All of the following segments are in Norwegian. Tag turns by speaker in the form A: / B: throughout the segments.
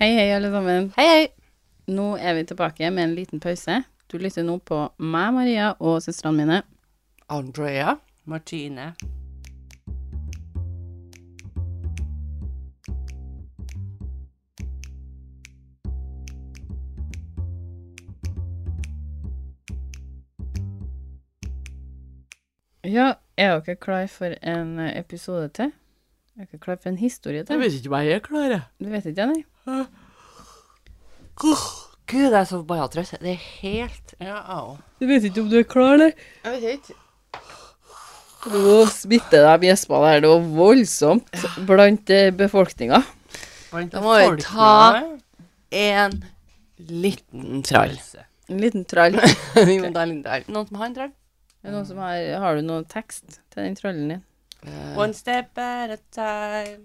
A: Hei, hei, alle sammen.
B: Hei, hei.
A: Nå er vi tilbake med en liten pause. Du lytter nå på meg, Maria, og søstrene mine.
B: Andrea. Martine.
A: Ja, er dere klar for en eh, episode til? Er dere klar for en historie
B: Jeg
A: til?
B: vet ikke hva jeg klarer.
A: Du vet ikke, nei?
B: Åh, Gud, jeg er så bare trøtt. Det er helt Ja, au.
A: Du vet ikke om du er klar, nei?
B: Jeg vet ikke.
A: Du smitter deg med gjespene her. Det var voldsomt blant eh, befolkninga.
B: Da må vi ta en liten trall.
A: En liten trall.
B: vi må ta en liten trall. Noen som har en trall?
A: Er det noen som har, har du noen tekst til den trollen din?
B: One step at a time.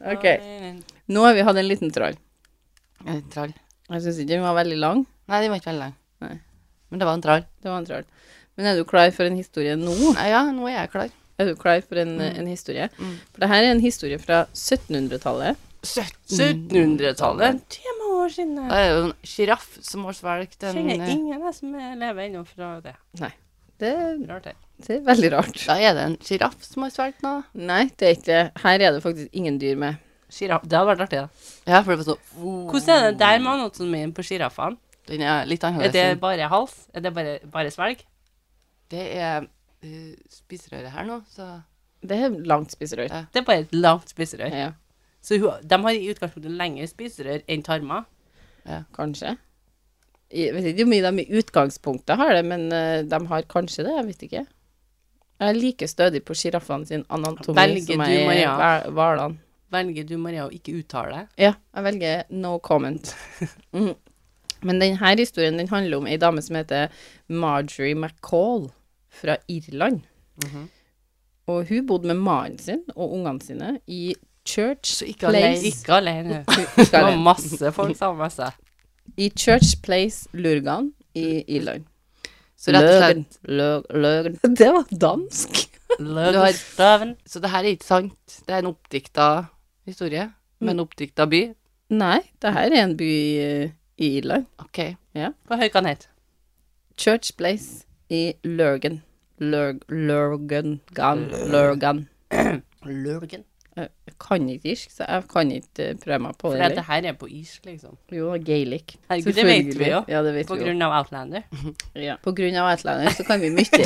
A: Ok. Nå har vi hatt en liten troll.
B: En trall.
A: Jeg syns ikke den var veldig lang.
B: Nei, de var ikke veldig lang.
A: Nei.
B: Men det var en trall.
A: Det var en troll. Men er du klar for en historie nå?
B: Nei, ja, nå er jeg klar.
A: Er du klar for en, en historie?
B: Mm.
A: For det her er en historie fra 1700-tallet.
B: 1700-tallet.
C: Det er mange år siden.
B: Da er det jo en sjiraff som har svelget
C: Jeg
B: en
C: kjenner
B: eh,
C: ingen jeg som lever ennå fra det.
A: Det,
C: Rart her.
A: det er veldig rart.
B: Da er det en sjiraff som har svelget noe.
A: Nei, det er ikke det. Her er det faktisk ingen dyr med.
C: Giraff. Det hadde vært artig, da.
B: Ja, for det var sånn
C: Hvordan er det der med anatomien på sjiraffene?
B: Den er litt
C: Er
B: annerledes.
C: det
B: enn-
C: bare hals? Er det bare, bare svelg?
B: Det er eh, spiserøret her nå, så
A: Det er langt spiserør.
B: Ja.
C: Det er bare et langt spiserør.
A: Ja,
C: Så hun- de har i utgangspunktet lengre spiserør enn tarmer.
A: kanskje. Jeg vet ikke hvor mye de i utgangspunktet har det, men eh, de har kanskje det. Jeg vet ikke. Jeg er like stødig på sjiraffene sin anatomi
C: Velger
A: som
C: du,
A: jeg er
C: Maria?
A: hva- hvalene.
C: Velger du, Maria, å ikke uttale?
A: Ja, jeg velger no comment. Mm. Men denne historien den handler om ei dame som heter Marjorie McCall fra Irland. Og hun bodde med mannen sin og ungene sine i Church,
B: Så ikke
A: Place.
B: alene.
C: Ikke alene. Det
A: Skal
C: var
A: jeg-
C: masse folk sammen med seg.
A: i Church Place, Lurgan i Irland.
B: Så rett og
A: Løgen, løg, løgen. Det var dansk!
B: Du har-
C: Løgstøven.
B: Så det her er ikke sant. Det er en oppdikta historie med en oppdikta by.
A: Nei, det her er en by eh, i Irland.
B: OK.
C: Hva høy kan het?
A: Church Place i Lurgan. Lurg, Lurgan. Gan, Lurgan.
C: Lørgen.
A: Jeg kan ikke irsk, så jeg kan ikke eh, prøve meg på
C: For
A: det.
C: det
A: eller?
C: her er på is, liksom.
A: Jo, gaelic.
C: Herregud, det vet vi jo.
A: Ja, det vet
C: På
A: vi jo.
C: grunn av Outlander.
A: Ja. På grunn av Outlander så kan vi mye.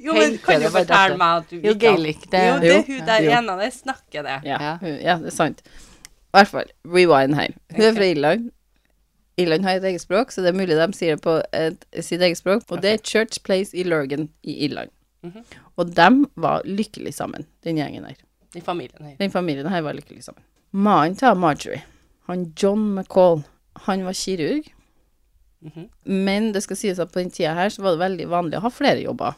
C: Jo, men kan du
B: det bare
C: fortelle
B: dette?
C: meg at du
B: Jo,
C: ikke
B: Gaelic, det
C: Jo,
B: er
C: det
A: Jo.
C: er hun der
A: Jo.
C: ene av dem snakker det.
A: ja.
B: Ja.
A: ja, det er sant. I hvert fall, rewind her. Hun er
C: Ok.
A: fra Irland. Irland har et eget språk, så det er mulig de sier det på et, sitt eget språk. Og det er Church Place i Lurgan i Irland.
C: Mhm.
A: Og dem var lykkelig sammen, den gjengen der.
C: I familien her.
A: Den familien her var lykkelig sammen. Mannen til Marjorie, han John McCall, han var kirurg.
C: Mhm.
A: Men det skal sies at på den tida her så var det veldig vanlig å ha flere jobber.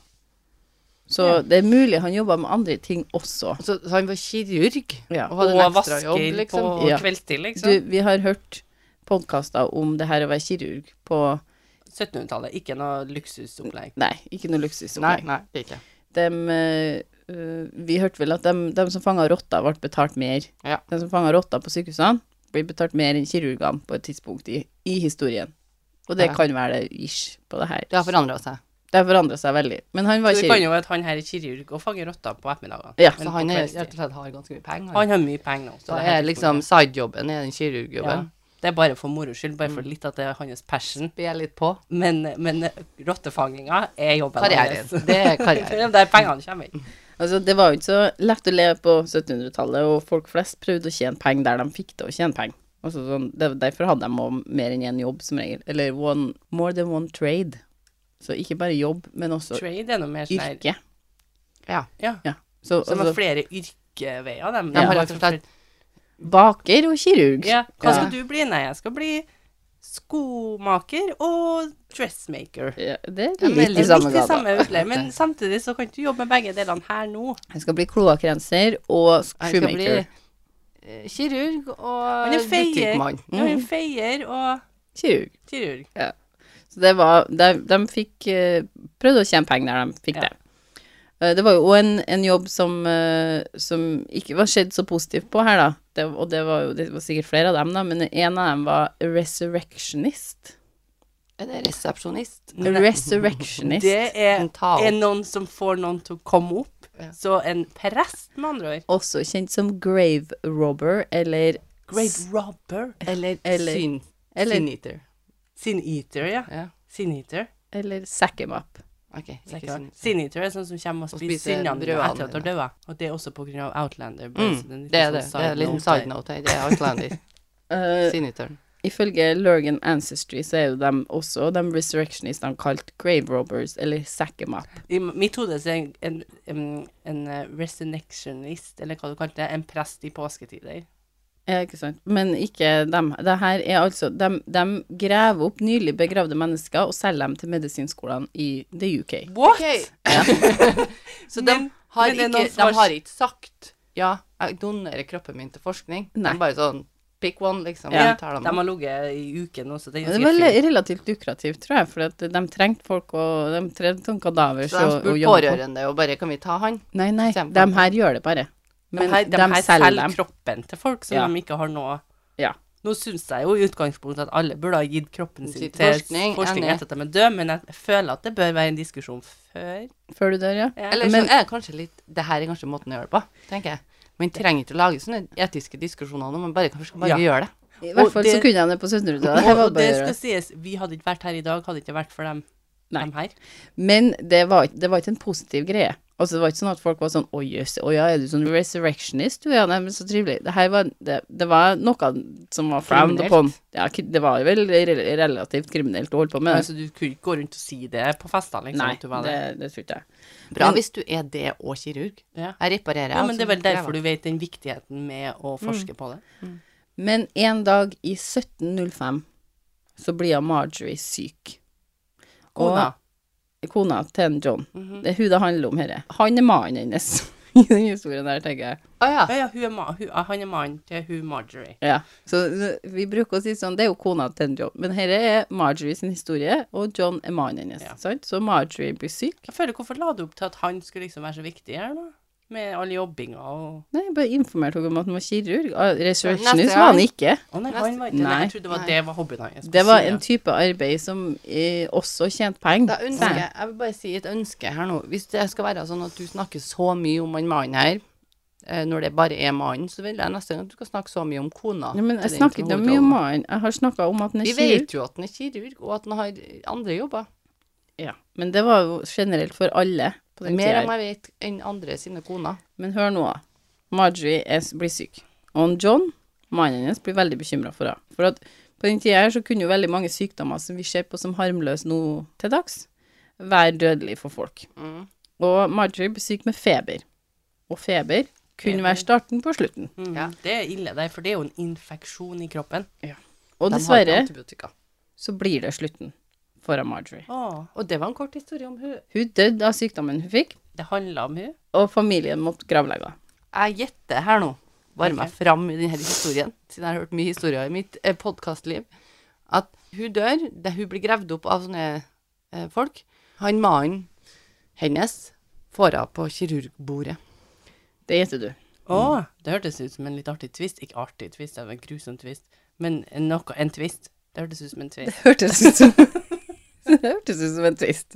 A: Så det er mulig han jobba med andre ting også.
B: Så, så han var kirurg
A: Ja.
B: og
C: Og
B: hadde en ekstra
C: vasker
B: jobb, liksom.
C: på
A: Ja.
C: kveldstid,
A: Du,
C: liksom.
A: vi har hørt podkaster om det her å være kirurg på
C: 1700-tallet, ikke noe luksusopplegg.
A: Nei, ikke noe
B: Nei,
A: luksusopplegg.
B: nei, det er ikke.
A: Dem, eh, eh, vi hørte vel at de, som fanga rotter, ble betalt mer.
B: Ja.
A: De som fanga rotter på sykehusene, blir betalt mer enn kirurgene på et tidspunkt i, i historien. Og det
B: Ja.
A: kan være det ish på det her.
B: Det har forandra seg.
A: Det har forandra seg veldig. Men han var
C: Så det kan
A: kirurg.
C: jo være at han her er kirurg og fanger rotter på ettermiddagene.
A: Ja,
C: Men
B: Så
C: på
B: han er,
C: kveldstid.
B: rett og slett har ganske mye penger.
C: han har mye penger nå. så
B: Så
C: det
B: det
C: her
B: er liksom sidejobben er den kirurgjobben.
C: Det er bare for moro skyld, bare for litt at det er hans passion.
B: Be jeg litt på.
C: Men, men rottefanginga er jobben
B: Karrieren.
C: hans.
B: Det er
C: Det
B: karrieren.
C: er der pengene kommer inn.
A: Altså, det var jo ikke så lett å leve på 1700-tallet, og folk flest prøvde å tjene penger der de fikk det å tjene penger. Altså, sånn, det, derfor hadde de også mer enn én jobb, som regel. Eller one, more than one trade. Så ikke bare jobb, men også
C: Trade er noe mer sånn her
A: yrke.
B: Ja.
C: Ja.
A: Ja. Så
C: Som har
A: altså,
C: flere yrkeveier, de.
B: De har rett og slett
A: baker og kirurg.
C: Ja. Hva
B: Ja.
C: skal du bli? Nei, jeg skal bli skomaker og dressmaker.
A: Ja, det
B: Ja,
A: er
B: men
A: litt
B: det
A: i
B: er
A: samme
C: Litt i
A: gata.
C: samme vesle, men samtidig så kan du jobbe med begge delene her nå.
A: Jeg skal bli kloakkrenser og
B: Jeg skal bli
A: shoemaker.
B: eh, kirurg
C: Han
B: og
C: er feier.
B: butikkmann.
C: Du er en feier og
A: Kirurg.
C: kirurg.
A: Så det var De, de fikk eh, prøvde å tjene penger der de fikk
C: Ja.
A: det. Eh, Det var jo òg en, en jobb som, eh, som ikke var sett så positivt på her, da. det, og det var jo det var sikkert flere av dem, da, men en av dem var resurrectionist.
B: Er det resepsjonist?
A: Resurrectionist.
C: Det er
B: Eh, En tal.
C: er noen som får noen til å komme opp.
B: Ja.
C: Så en prest, med andre ord.
A: Også kjent som grave robber, eller
C: Great robber.
B: Eller,
A: Eller-
B: syn,
A: eller-
B: syneater.
C: Sin eater, ja.
B: Ja,
C: Sin eater.
A: Eller sackemap.
B: ok. Ikke
C: Sin
B: syn.
C: eater er sånn som kommer og
B: Og
C: spiser
B: spiser
C: syndene dine
B: brødene
C: etter at de har dødd. Og det er også på grunn av Outlander. bare
A: Mm,
C: så en liten
B: Det er det.
C: sånn
B: Det er en liten
C: note her.
B: side note her. Det er Outlander.
A: Eh,
B: Syneateren.
A: ifølge Lurgan Ancestry så er jo dem også de resurrectionistene kalt grave robbers, eller sackemap.
C: I mitt hode så er en, en, en, en eh, resurrectionist, eller hva du kalte det, en prest i påsketider.
A: Ja, ikke sant. Men ikke dem. Det her er altså De, graver opp nylig begravde mennesker og selger dem til medisinskolene i the UK.
C: What?!
B: Så de
C: Men-
B: har,
C: men det er
B: ikke,
C: noen som
B: de
C: har-
B: har ikke sagt Ja, jeg donerer kroppen min til forskning. Det
A: Nei.
B: er bare sånn pick one, liksom.
C: Ja,
B: og tar dem
C: de
B: med.
C: har ligget i uken også. Det er
A: Og Det
C: ganske
A: var
C: fint.
A: le- relativt lukrativt, tror jeg, for at de trengte folk, og de trengte sånn kadaver
B: Så de
A: å
B: spurte
A: jobbe på.
B: pårørende og bare Kan vi ta han?
A: Nei, nei,
B: Kjempe-
A: de her gjør det bare. Men
C: de her, de her
A: selger
C: selger
A: dem.
C: kroppen til folk som
A: Ja.
C: de ikke har noe
A: Ja.
C: Nå syns jeg jo i utgangspunktet at alle burde ha gitt kroppen sin
B: Sitt
C: til forskning,
B: forskning, enig.
C: etter at de er døde, men jeg føler at det bør være en diskusjon før
A: Før du dør, ja.
C: Ja.
B: Eller
A: Men-
B: så er det kanskje litt Det her er kanskje måten å gjøre det på, tenker jeg. Man trenger ikke å lage sånne etiske diskusjoner nå, man bare kan skal bare
C: Ja.
B: gjøre det.
A: I
C: Og
A: hvert fall så
C: det-
A: kunne de det på 1700-tallet. Det
C: Og,
A: var
C: og
A: bare
C: det
A: å gjøre
C: skal
A: det.
C: sies, vi hadde ikke vært her i dag, hadde det ikke vært for dem,
A: Nei.
C: dem her.
A: Men det var, ikke- det var ikke en positiv greie. Altså, det var ikke sånn at folk var sånn Å, jøss, å ja, er du sånn resurrectionist? Du, ja, nei, men så trivelig. Det her var Det, det var noe som var frowned
B: Kriminelt.
A: upon. Ja, k- det var vel re- relativt kriminelt å holde på med.
C: Altså, du kunne ikke gå rundt og si det på festene, liksom.
A: Nei,
C: at du var
A: det,
C: det.
A: det tror ikke jeg.
B: Bra
A: Men-
B: hvis du er det og kirurg.
C: Ja.
B: Jeg reparerer.
C: Ja, men det Mm. er vel derfor du vet den viktigheten med å forske på det.
A: Men en dag i 1705 så blir Marjorie syk.
C: Kona. Mhm.
A: Og kona til en John. Det er hun det handler om her. Han er mannen hennes i den historien her, tenker jeg.
B: Å ja.
C: Ja, ja, hun er ma hun, ah, han er mannen til hun Marjorie.
A: Ja. Så så vi bruker å si sånn, det er jo kona til en John. Men her er Marjorie sin historie, og John er mannen hennes.
C: Ja.
A: Sant? Så Marjorie blir syk.
C: Jeg føler, Hvorfor la du opp til at han skulle liksom være så viktig her, da? Med all jobbinga og
A: Nei, jeg bare informerte henne om at han var kirurg. Ah, Resurrectionist
B: Neste
A: var han
B: gang.
A: ikke.
C: Å nei,
B: Neste-
C: han var ikke Nei,
A: Nei.
C: jeg trodde det var,
B: Nei.
C: det var hobbyen hans.
A: Det var en type arbeid som eh, også tjente penger.
B: Da ønsker jeg, jeg vil bare si et ønske her nå. Hvis det skal være sånn at du snakker så mye om han mannen her, eh, når det bare er mannen, så vil jeg neste gang at du skal snakke så mye om kona.
A: Ja, men
B: til
A: jeg
B: den
A: snakker ikke mye om
B: hovedrollen.
A: mannen. Jeg har snakka om at han er
B: Vi
A: kirurg.
B: vet jo at han er kirurg, og at han har andre jobber.
A: Ja, men det var jo generelt for alle på den
B: Mer
A: tida.
B: enn
A: her.
B: jeg vet enn andre sine koner.
A: Men hør nå. da. Marjorie er, blir syk. Og han John, mannen hennes, blir veldig bekymra for henne. For at på den tida her så kunne jo veldig mange sykdommer som vi ser på som harmløse nå til dags, være dødelige for folk.
B: Mm.
A: Og Marjorie blir syk med feber. Og feber kunne være starten på slutten.
C: mm,
B: Ja.
C: Det er ille, der, for det er jo en infeksjon i
A: Og
C: kroppen.
B: De har ikke
A: dessverre
B: antibiotika.
A: så blir det slutten for han Marjorie.
C: Å,
B: Og det var en kort historie om hun.
A: Hun døde av sykdommen hun fikk,
C: det handla om hun.
A: og familien måtte gravlegge henne.
B: Jeg gjetter her nå, bare meg
C: Ok.
B: fram i denne historien, siden jeg har hørt mye historier i mitt eh, podcastliv, at hun dør, det, hun blir grevd opp av sånne eh, folk. Han mannen hennes får henne på kirurgbordet.
A: Det gjetter du.
C: Å, Mm. det hørtes ut som en litt artig twist. Ikke artig twist, det var en grusom twist, men en noe, en twist. Det hørtes ut som en twist.
A: hørtes ut som Det hørtes ut som en twist.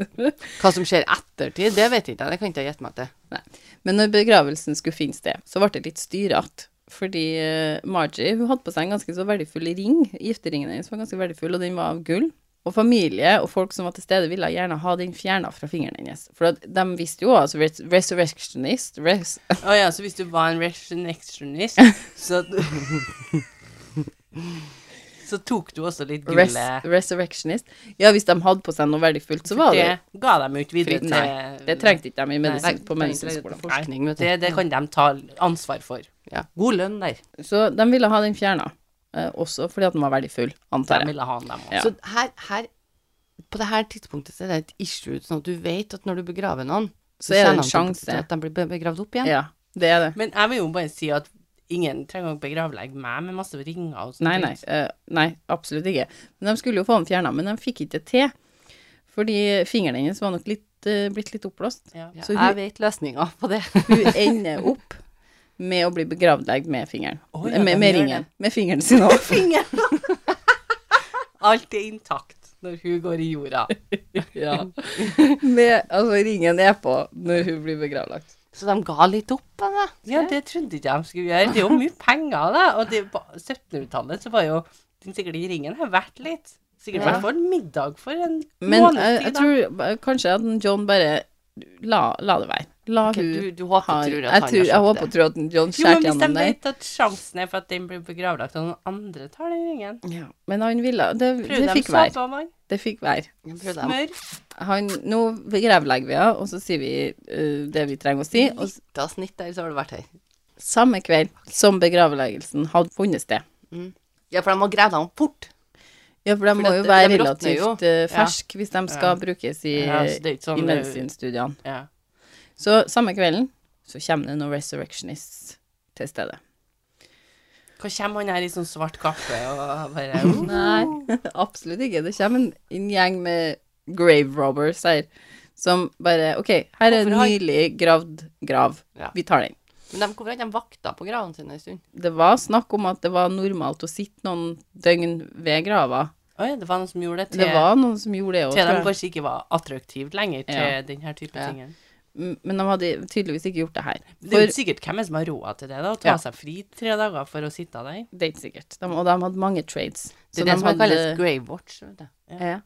B: Hva som skjer ettertid, det vet jeg ikke, det kan ikke jeg gjette meg til.
A: Men når begravelsen skulle finne sted, så ble det litt styrete. Fordi eh, Margie hun hadde på seg en ganske så verdifull ring. Gifteringen hennes var ganske verdifull, og den var av gull. Og familie og folk som var til stede, ville gjerne ha den fjerna fra fingeren hennes. For at de visste jo altså res Resurrectionist res
C: Å ja, så hvis du var en resurrectionist, så Så tok du også litt
A: res
C: gullet.
A: Resurrectionist. Ja, hvis de hadde på seg noe verdifullt, så var det
C: Det ga dem ut videre
A: Fritt,
C: til
A: nei. Det trengte ikke de i
B: Nei,
A: medisin, på
B: trenger ikke legge ut
A: medisinskolen.
B: på forskning, vet du.
C: Det, det kan de ta ansvar for.
B: Ja. God lønn der.
A: Så de ville ha den fjerna. eh, Også fordi at den var verdifull, antar
C: De
A: jeg.
C: ville ha dem også.
A: Ja.
B: Så her, her, på det her tidspunktet så er det et issue, sånn at du vet at når du begraver noen,
A: Så er det en
B: kjenner han til
A: sjanse.
B: at de blir be- begravd opp igjen.
A: Ja, det er det.
C: Men jeg vil jo bare si at ingen trenger å begravlegge meg med masse ringer og sånt.
A: Nei, nei, eh, nei, absolutt ikke. Men de skulle jo få den fjerna, men de fikk ikke det til. Fordi fingeren hennes var nok litt, eh, blitt litt oppblåst.
C: Ja.
B: Ja,
A: Så hun-
B: jeg vet løsninga på det.
A: Hun ender opp med å bli begravdelagt med fingeren.
C: Oi, ja,
A: med,
C: de
A: med
C: gjør
A: ringen. Med fingeren sin òg.
C: Alt er intakt når hun går i jorda. ja.
A: altså, ringen er på når hun blir begravlagt.
B: Så de ga litt opp, da. da.
C: Ja, det trodde ikke jeg de skulle gjøre. Det er jo mye penger, da. Og det, på 1700-tallet så var jo den sikkert i ringen har vært litt. Sikkert
B: Ja.
C: vært for en middag for en
A: Men
C: måned
A: jeg, jeg
C: siden.
A: tror ba- kanskje at en John bare la, la det være. La hun
B: Du, du håper
A: ha
B: og tror at
A: Jeg,
B: han
A: tror, jeg
B: har
A: håper
B: kjøpt
A: og tror at en John
C: Jo, men
A: skjærer
C: hvis de
A: gjennom der.
C: vet at sjansen er for at den blir begravlagt, og noen andre tar den ringen
A: Ja, men han ville Det,
C: Prøvde
A: det
C: de
A: fikk være.
C: såpe, mann?
A: Det fikk være.
B: det. Jeg prøvde
C: Smør?
A: Han, nå begravlegger vi henne, og så sier vi eh, det vi trenger å si.
B: å
A: Og s-
B: ta snitt der, så har du vært her.
A: samme kveld som begravleggelsen hadde funnet sted.
B: Ja, for de må grave dem opp fort.
A: Ja, for de må
B: at
A: jo
B: de-
A: være
B: de råtner jo.
A: relativt eh, ferske hvis de skal brukes i,
C: Ja, så det er ikke sånn
A: i
C: det-
A: medisinstudiene.
C: Ja.
A: Så samme kvelden så kommer det noen resurrectionists til stedet.
C: Hva kommer han her i sånn svart kaffe og bare
A: Nei, absolutt ikke. Det kommer en, en gjeng med grave robbers her, som bare OK, her er
B: Hvorfor
A: en
B: har-
A: nylig gravd grav.
B: Ja.
A: Vi tar den.
B: Men de, hvorfor har ikke de vakta på gravene sine en stund?
A: Det var snakk om at det var normalt å sitte noen døgn ved grava.
C: Å ja, det var noen som gjorde det til,
A: Det var noen som gjorde det òg,
C: til de
A: tror jeg.
C: kanskje ikke var attraktivt lenger til
A: Ja.
C: denne type
B: Ja.
C: tingen.
A: M- Men de hadde tydeligvis ikke gjort det her.
C: Det er jo
A: For
C: ikke sikkert hvem er som har råd til det, da. Å ta
A: Ja.
C: seg fri tre dager for å sitte der.
A: det er ikke sikkert. De, og de hadde mange trades. Så
B: Det er det
A: de
B: som hadde... kalles
A: hadde-
B: grave watch. Vet du.
A: Ja.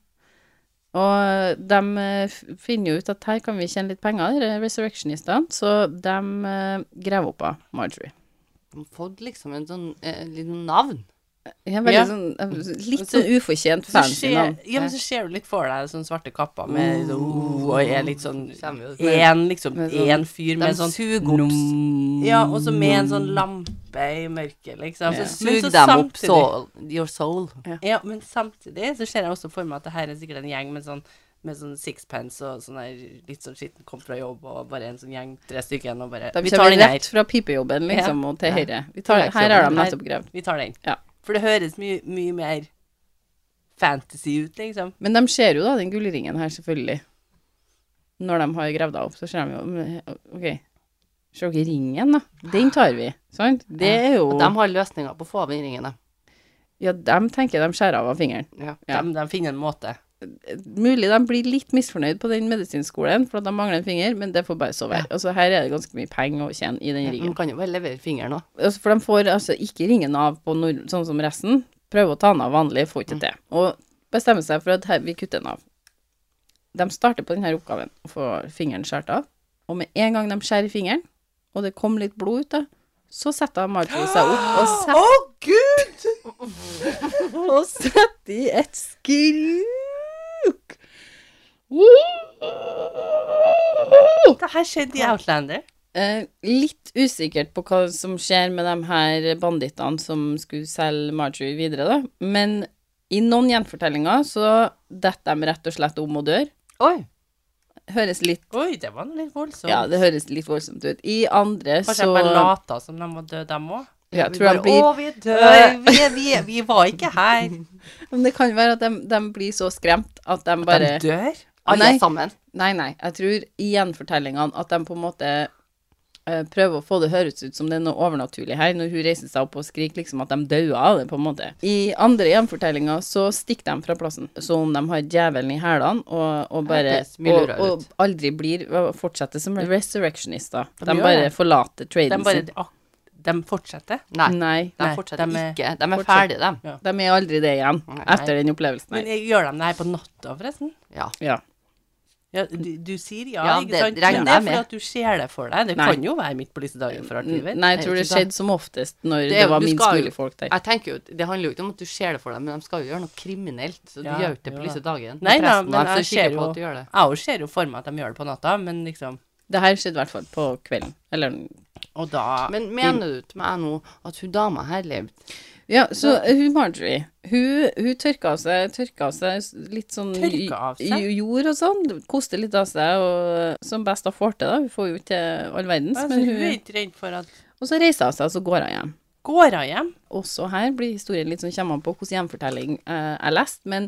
A: Og de eh, f- finner jo ut at her kan vi tjene litt penger, de resurrectionistene, så de eh, graver opp av Marjorie.
B: De har fått liksom en sånn eh, liten navn.
A: Jeg er veldig
C: Ja.
A: sånn, eh, litt
C: Så-
A: sånn ufortjent
C: Så
A: fancy
C: ser,
A: navn.
C: ja, men så ser du litt for deg sånn svarte kapper med sånn, oh, og er litt sånn
B: Kommer jo ut med-
C: Én liksom,
A: med sånn-
C: en fyr med
B: De
C: sånn
B: suger opp
C: nom- Ja, og så med en sånn lampe i mørket,
A: Ja.
C: liksom. Så, men
B: Sug
C: så
B: dem opp
C: samtidig-
B: soul, your soul.
C: Ja, men samtidig så ser jeg også for meg at det her er sikkert en gjeng med sånn med sånn sixpence og sånn der litt sånn skitten kom fra jobb, og bare en sånn gjeng, tre stykker, og bare
A: De
C: Vi tar
A: kommer
C: den her.
A: rett fra pipejobben, liksom, og til
B: Ja.
A: høyre. Vi tar, her har de nettopp gravd.
C: Vi tar den.
A: Ja.
C: For det høres mye, mye mer fantasy ut, liksom.
A: Men de ser jo da den gullringen her, selvfølgelig. Når de har gravd deg opp, så ser de jo men, OK, se dere ringen, da. Den tar vi, sant? Det er jo
B: Og de har løsninger på å få av den ringen. da.
A: Ja, de tenker de skjærer av av fingeren. Ja.
C: De, de finner en måte.
A: Mulig de blir litt misfornøyd på den medisinskolen for at de mangler en finger, men det får bare så være. Altså, her er det ganske mye penger å tjene i den
B: De
A: ringen.
B: kan jo bare levere fingeren òg.
A: Altså, for de får altså ikke ringen av på nord, sånn som resten. Prøver å ta den av vanlig, får ikke til. Og bestemmer seg for at her, vi kutter den av. De starter på denne oppgaven, og får fingeren skåret av. Og med en gang de skjærer fingeren, og det kom litt blod ut, da, så setter Marjorie seg opp og setter,
C: gud!
A: og setter i et skruk.
C: Det her skjedde i Outlander.
A: Eh, litt usikkert på hva som skjer med de her bandittene som skulle selge Marjorie videre, da. Men i noen gjenfortellinger så detter de rett og slett om og dør.
B: Oi!
A: Høres litt
C: Oi, det var litt voldsomt.
A: Ja, det høres litt voldsomt ut. I andre
C: Kanskje
A: så
C: de bare lata som de var døde, dem òg?
A: ja, tror jeg blir,
C: Å, vi dør! Vi, er- vi, er- vi var ikke her.
A: Men det kan være at de, de blir så skremt at de bare
C: De dør?
B: Alle
A: Nei.
B: sammen.
A: Nei, nei. Jeg tror i gjenfortellingene at de på en måte eh, prøver å få det høres ut som det er noe overnaturlig her, når hun reiser seg opp og skriker liksom at de dauer av det, på en måte. I andre gjenfortellinger så stikker de fra plassen, som om de har djevelen i hælene og, og bare
B: Hørtes mye
A: og,
B: lurere
A: og
B: ut.
A: aldri blir og fortsetter som resurrectionister. De,
C: gjør
A: bare
C: det.
A: forlater
C: De
A: traden
C: bare
A: sin.
C: ak- De fortsetter?
B: Nei.
A: Nei.
B: De
C: Nei,
B: fortsetter
C: de er-
B: ikke. De er
A: fortsetter.
B: ferdige, dem.
A: De er aldri det igjen etter den opplevelsen
C: Men
A: her.
C: gjør de det her på natta, forresten?
B: Ja.
A: Ja.
C: Ja, du, du sier ja,
B: Ja,
C: ikke
B: det
C: sant?
B: regner
C: Men det er
B: jeg
C: fordi
B: med.
C: at du ser det for deg. Det
A: Nei.
C: kan jo være midt på lyse dagen for alt vi vet.
A: Nei, jeg
B: Jeg
A: tror
B: vet
A: det
B: ikke, da.
A: skjedde som oftest når det,
B: Det er jo-
A: var
B: du
A: minst
B: skal jo-
A: mulig folk der.
B: Jeg tenker jo, Det handler jo ikke om at du ser det for deg, men de skal jo gjøre noe kriminelt. Så du
C: Ja,
B: gjør ikke det på
C: ja.
B: lyse dagen.
C: Nei, da,
B: Presten
C: men
B: er så
C: jeg ser
B: sikker
C: jo
B: på at du gjør det.
C: Jeg òg ser jo for meg at de gjør det på natta, men liksom
A: Det her skjedde i hvert fall på kvelden. Eller
C: Og da
B: Men mener du til meg nå at hun dama her levde?
A: Ja, så eh, hun Marjorie, hun, hun tørka av seg, tørka av seg s- litt sånn
C: Tørka
A: j-
C: av seg?
A: j- jord og sånn, koste litt av seg, og eh, som best hun får til, da. Hun får jo ikke til all verdens,
C: altså,
A: men
C: Hun er
A: hun
C: ikke redd for at
A: Og så reiser hun seg, og så går hun hjem.
C: Går hun hjem?
A: Også her blir historien litt sånn kommer an på hvilken gjenfortelling eh, jeg leste, men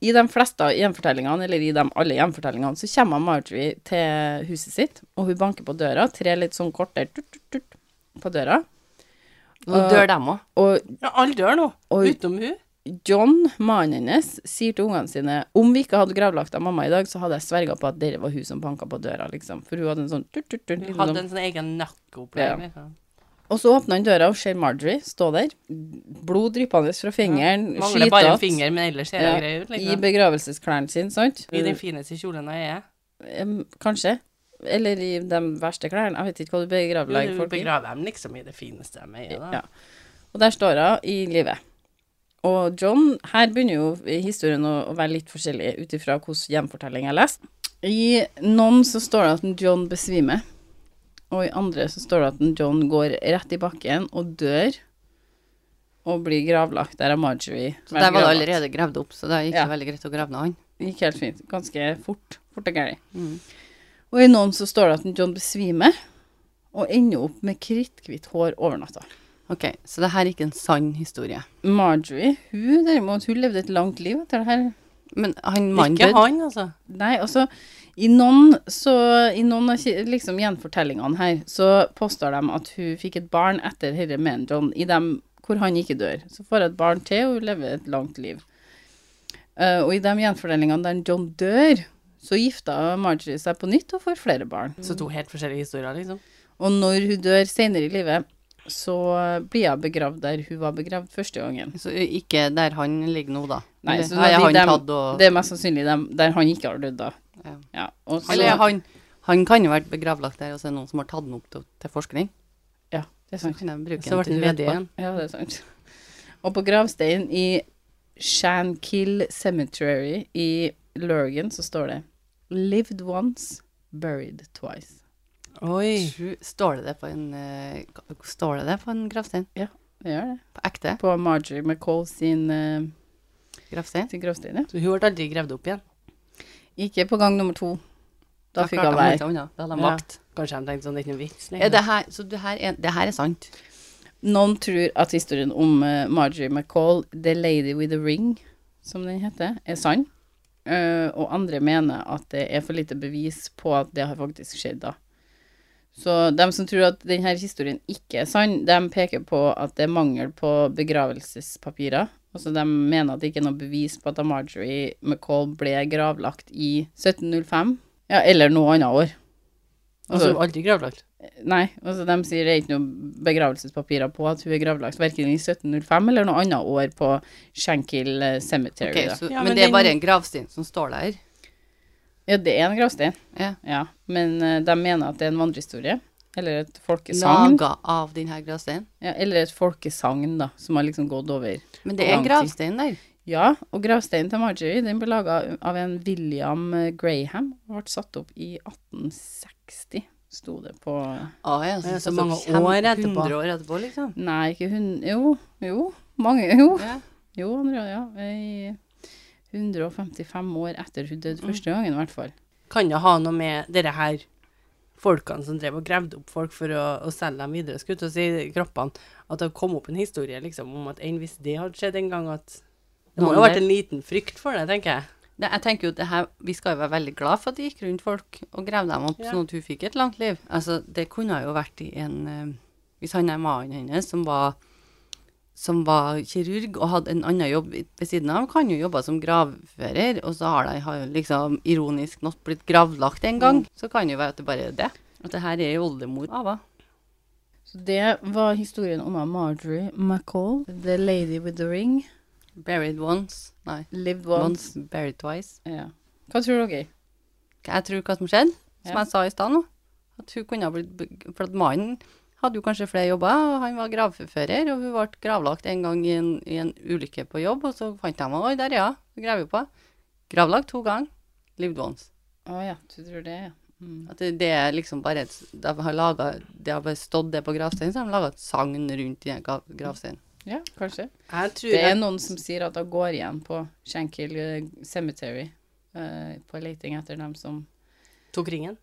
A: i de fleste gjenfortellingene, eller i de alle gjenfortellingene, så kommer Marjorie til huset sitt, og hun banker på døra, trer litt sånn kort der, tut, tut, tut. på døra.
B: Nå dør dem òg.
A: Og
C: Ja, alle dør nå,
A: Oi.
C: utenom hun.
A: John, mannen hennes, sier til ungene sine om vi ikke hadde gravlagt av mamma i dag, så hadde jeg sverga på at dere var hun som banka på døra, liksom. For hun hadde en sånn tut, tut, tut,
C: Hun
A: liksom.
C: hadde en sånn egen
A: Ja.
C: nakkeopplegg. liksom.
A: Og så åpner han døra og ser Marjorie stå der. Blod dryppende fra fingeren.
C: Mangler bare en
A: skytatt,
C: finger, men ellers ser
A: Ja,
C: hun grei ut.
A: I
C: Liksom.
A: begravelsesklærne sine, sant?
C: I den fineste kjolen jeg er.
A: Em, Kanskje. Eller i de verste klærne. Jeg vet ikke hva du begravlegger
C: Hun
A: folk i.
C: begraver dem liksom i det fineste de er.
A: Ja.
C: Da.
A: Og der står hun i live. Og John Her begynner jo historien å å være litt forskjellig ut ifra hvilken gjenfortelling jeg leste. I noen så står det at en John besvimer, og i andre så står det at en John går rett i bakken og dør og blir gravlagt der av Marjorie.
B: Så der var det
A: Gravlagt.
B: allerede gravd opp, så det gikk
A: Ja.
B: det veldig greit å grave ned han.
A: gikk helt fint. Ganske fort. Fort og gærent.
B: Mm.
A: Og i noen så står det at en John besvimer, og ender opp med kritthvitt hår over natta.
B: Ok, så det her er ikke en sann historie.
A: Marjorie, hun derimot, hun levde et langt liv etter det her.
B: Men han mannen
C: Ikke
B: døde.
C: han, altså.
A: Nei, altså, i noen, så, i noen av ki- liksom, gjenfortellingene her, så påstår de at hun fikk et barn etter herre med en John, i dem hvor han ikke dør. Så får hun et barn til, og hun lever et langt liv. Eh, og i de gjenfortellingene der en John dør, så gifta Marjorie seg på nytt og får flere barn.
C: Så to helt forskjellige historier, liksom.
A: Og når hun dør senere i livet, så blir hun begravd der hun var begravd første gangen.
B: Så ikke der han ligger nå, da.
A: Nei,
B: Eller,
A: så
B: nei,
A: de-
B: han
A: dem-
B: tatt og
A: Det er mest sannsynlig dem der han ikke har dødd, da.
B: Ja.
A: Ja, og så,
B: Eller han, han kan jo vært begravlagt der, og så er det noen som har tatt den opp til, til forskning.
A: ja, det er
B: Så
A: sant.
B: kan de bruke
C: Så ble
B: den til
C: han ledig
B: vedpå.
C: igjen.
A: Ja, det er sant. Og på gravsteinen i Shankill Cemetery i Lurgan så står det Lived once, buried twice.
C: Oi.
B: Sju- Står det det på en, eh, ka- står det det på en gravstein?
A: Det gjør det.
B: På ekte
A: På Marjorie McCall sin, eh,
B: gravstein?
A: sin gravstein, ja.
C: Så hun ble aldri gravd opp igjen.
A: Ikke på gang nummer to. Da fikk hun
B: klarte de
A: være.
B: ikke unna. Da hadde de
C: Ja.
B: vakt.
C: Kanskje de tenkte sånn, det er ikke noe vits
B: Er det her, så det her er, det her er sant?
A: Noen tror at historien om eh, Marjorie McCall, The Lady with the Ring, som den heter, er sann. Eh, og andre mener at det er for lite bevis på at det har faktisk skjedd da. Så de som tror at denne historien ikke er sann, de peker på at det er mangel på begravelsespapirer. Altså de mener at det ikke er noe bevis på at da Marjorie McCall ble gravlagt i 1705, ja, eller noe annet år. Altså,
C: Og så aldri gravlagt.
A: Nei, altså de sier det er ikke noen begravelsespapirer på at hun er gravlagt verken i 1705 eller noe annet år på Shankill eh, Cemetery.
B: Ok,
A: da.
B: så,
C: Ja,
B: men
C: men
B: det er
C: den-
B: bare en gravstein som står der?
A: Ja, det er en gravstein,
B: Ja.
A: ja. Men eh, de mener at det er en vandrehistorie. Eller et folkesagn.
B: Laga av denne gravsteinen?
A: Ja, eller et folkesagn, da, som har liksom gått over.
B: Men det er en
A: Lang tid.
B: gravstein der.
A: Ja, og gravsteinen til Marjorie den ble laga av en William eh, Graham. og Ble satt opp i 1860, sto det på
B: Ah, ja,
C: Ja,
B: så
C: så mange
B: kjem-
C: år etterpå.
B: 100 år etterpå, liksom.
A: Nei, ikke hun Jo, jo. Mange, jo.
B: Ja.
A: Jo, Andrea, ja. I 155 år etter hun døde første gangen, i hvert fall.
C: Kan det ha noe med dere her folkene som drev og gravde opp folk for å, å selge dem videre, skulle jeg til å si, kroppene, at det kom opp en historie liksom om at en, hvis det hadde skjedd en gang, at det må
B: Noen
C: jo ha vært
B: der.
C: en liten frykt for det, tenker jeg.
B: Det, jeg tenker jo at det her, Vi skal jo være veldig glad for at det gikk rundt folk og grev dem opp,
C: Ja.
B: sånn at hun fikk et langt liv. Altså, Det kunne jo vært i en eh, Hvis han er mannen hennes, som var, som var kirurg og hadde en annen jobb i- ved siden av, kan jo jobbe som gravfører, og så har de har jo liksom ironisk nok blitt gravlagt en gang. Så kan jo være at det bare er det. At det her er jo oldemor Ava.
A: Så det var historien om Marjorie McCall, The Lady with the Ring,
B: Buried once. Nei.
A: Lived Once.
B: Once, buried twice.
A: Ja. Hva tror dere?
B: Jeg tror hva som skjedde, som
A: Ja.
B: jeg sa i stad nå. At hun kunne ha blitt be- For at mannen hadde jo kanskje flere jobber, og han var gravfører, og hun ble gravlagt en gang i en, i en ulykke på jobb, og så fant de henne. Oi, der er hun. Hun graver jo på. Gravlagt to ganger. Lived once.
A: Å ja, du tror det, ja. Mm.
B: At det, det er liksom bare et, De har laget, Det har bare stått det på gravsteinen, så har de laga et sagn rundt i den grav- gravsteinen.
A: Ja, kanskje.
C: Jeg tror
A: Det er
C: at
A: noen som sier at hun går igjen på Shankill eh, Cemetery eh, på leting etter dem som
C: tok ringen.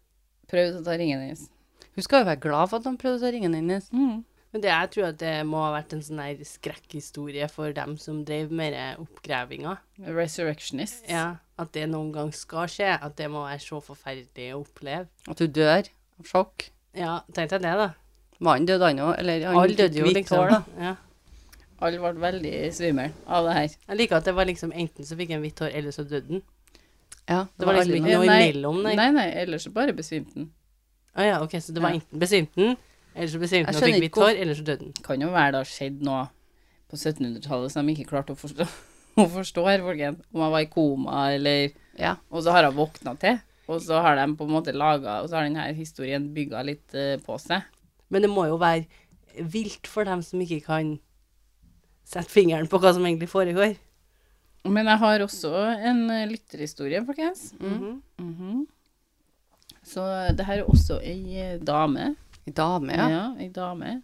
A: prøvde å ta ringen hennes.
B: Hun skal jo være glad for at han prøvde å ringe henne hennes.
A: Mm.
C: Men det, jeg tror at det må ha vært en sånn her skrekkhistorie for dem som drev med det oppgrevinga.
A: Resurrectionists.
C: Ja, at det noen gang skal skje, at det må være så forferdelig å oppleve.
B: At hun dør av sjokk.
C: Ja, tenkte jeg det da.
B: Mannen døde han òg, eller han
C: Alle
B: fikk
C: døde jo,
B: hvitt
C: liksom.
B: hår, da.
C: Ja.
A: Alle ble veldig svimmel av det her.
C: Jeg liker at det var liksom enten så fikk han hvitt hår, eller så døde han.
B: Ja,
C: Det var liksom
B: alle-
C: ikke noe
A: Nei.
C: imellom, nei.
A: Nei, nei, ellers så bare besvimte han.
C: Å ja, ok, så det var
A: Ja.
C: enten besvimte han, eller så
B: Jeg
C: besvimte han og fikk
B: skjønner ikke
C: hvitt hår, eller så døde han.
A: Kan jo være det har skjedd noe på 1700-tallet som de ikke klarte å forstå, å forstå her, folkens. Om han var i koma, eller
B: Ja.
A: Og så har han våkna til, og så har de på en måte laga Og så har denne historien bygga litt eh, på seg.
C: Men det må jo være vilt for dem som ikke kan sette fingeren på hva som egentlig foregår.
A: Men jeg har også en eh, lytterhistorie, folkens.
C: Mhm.
A: Mhm. Så det her er også ei eh, dame.
B: Dame,
A: Ja,
B: ja.
A: ei dame.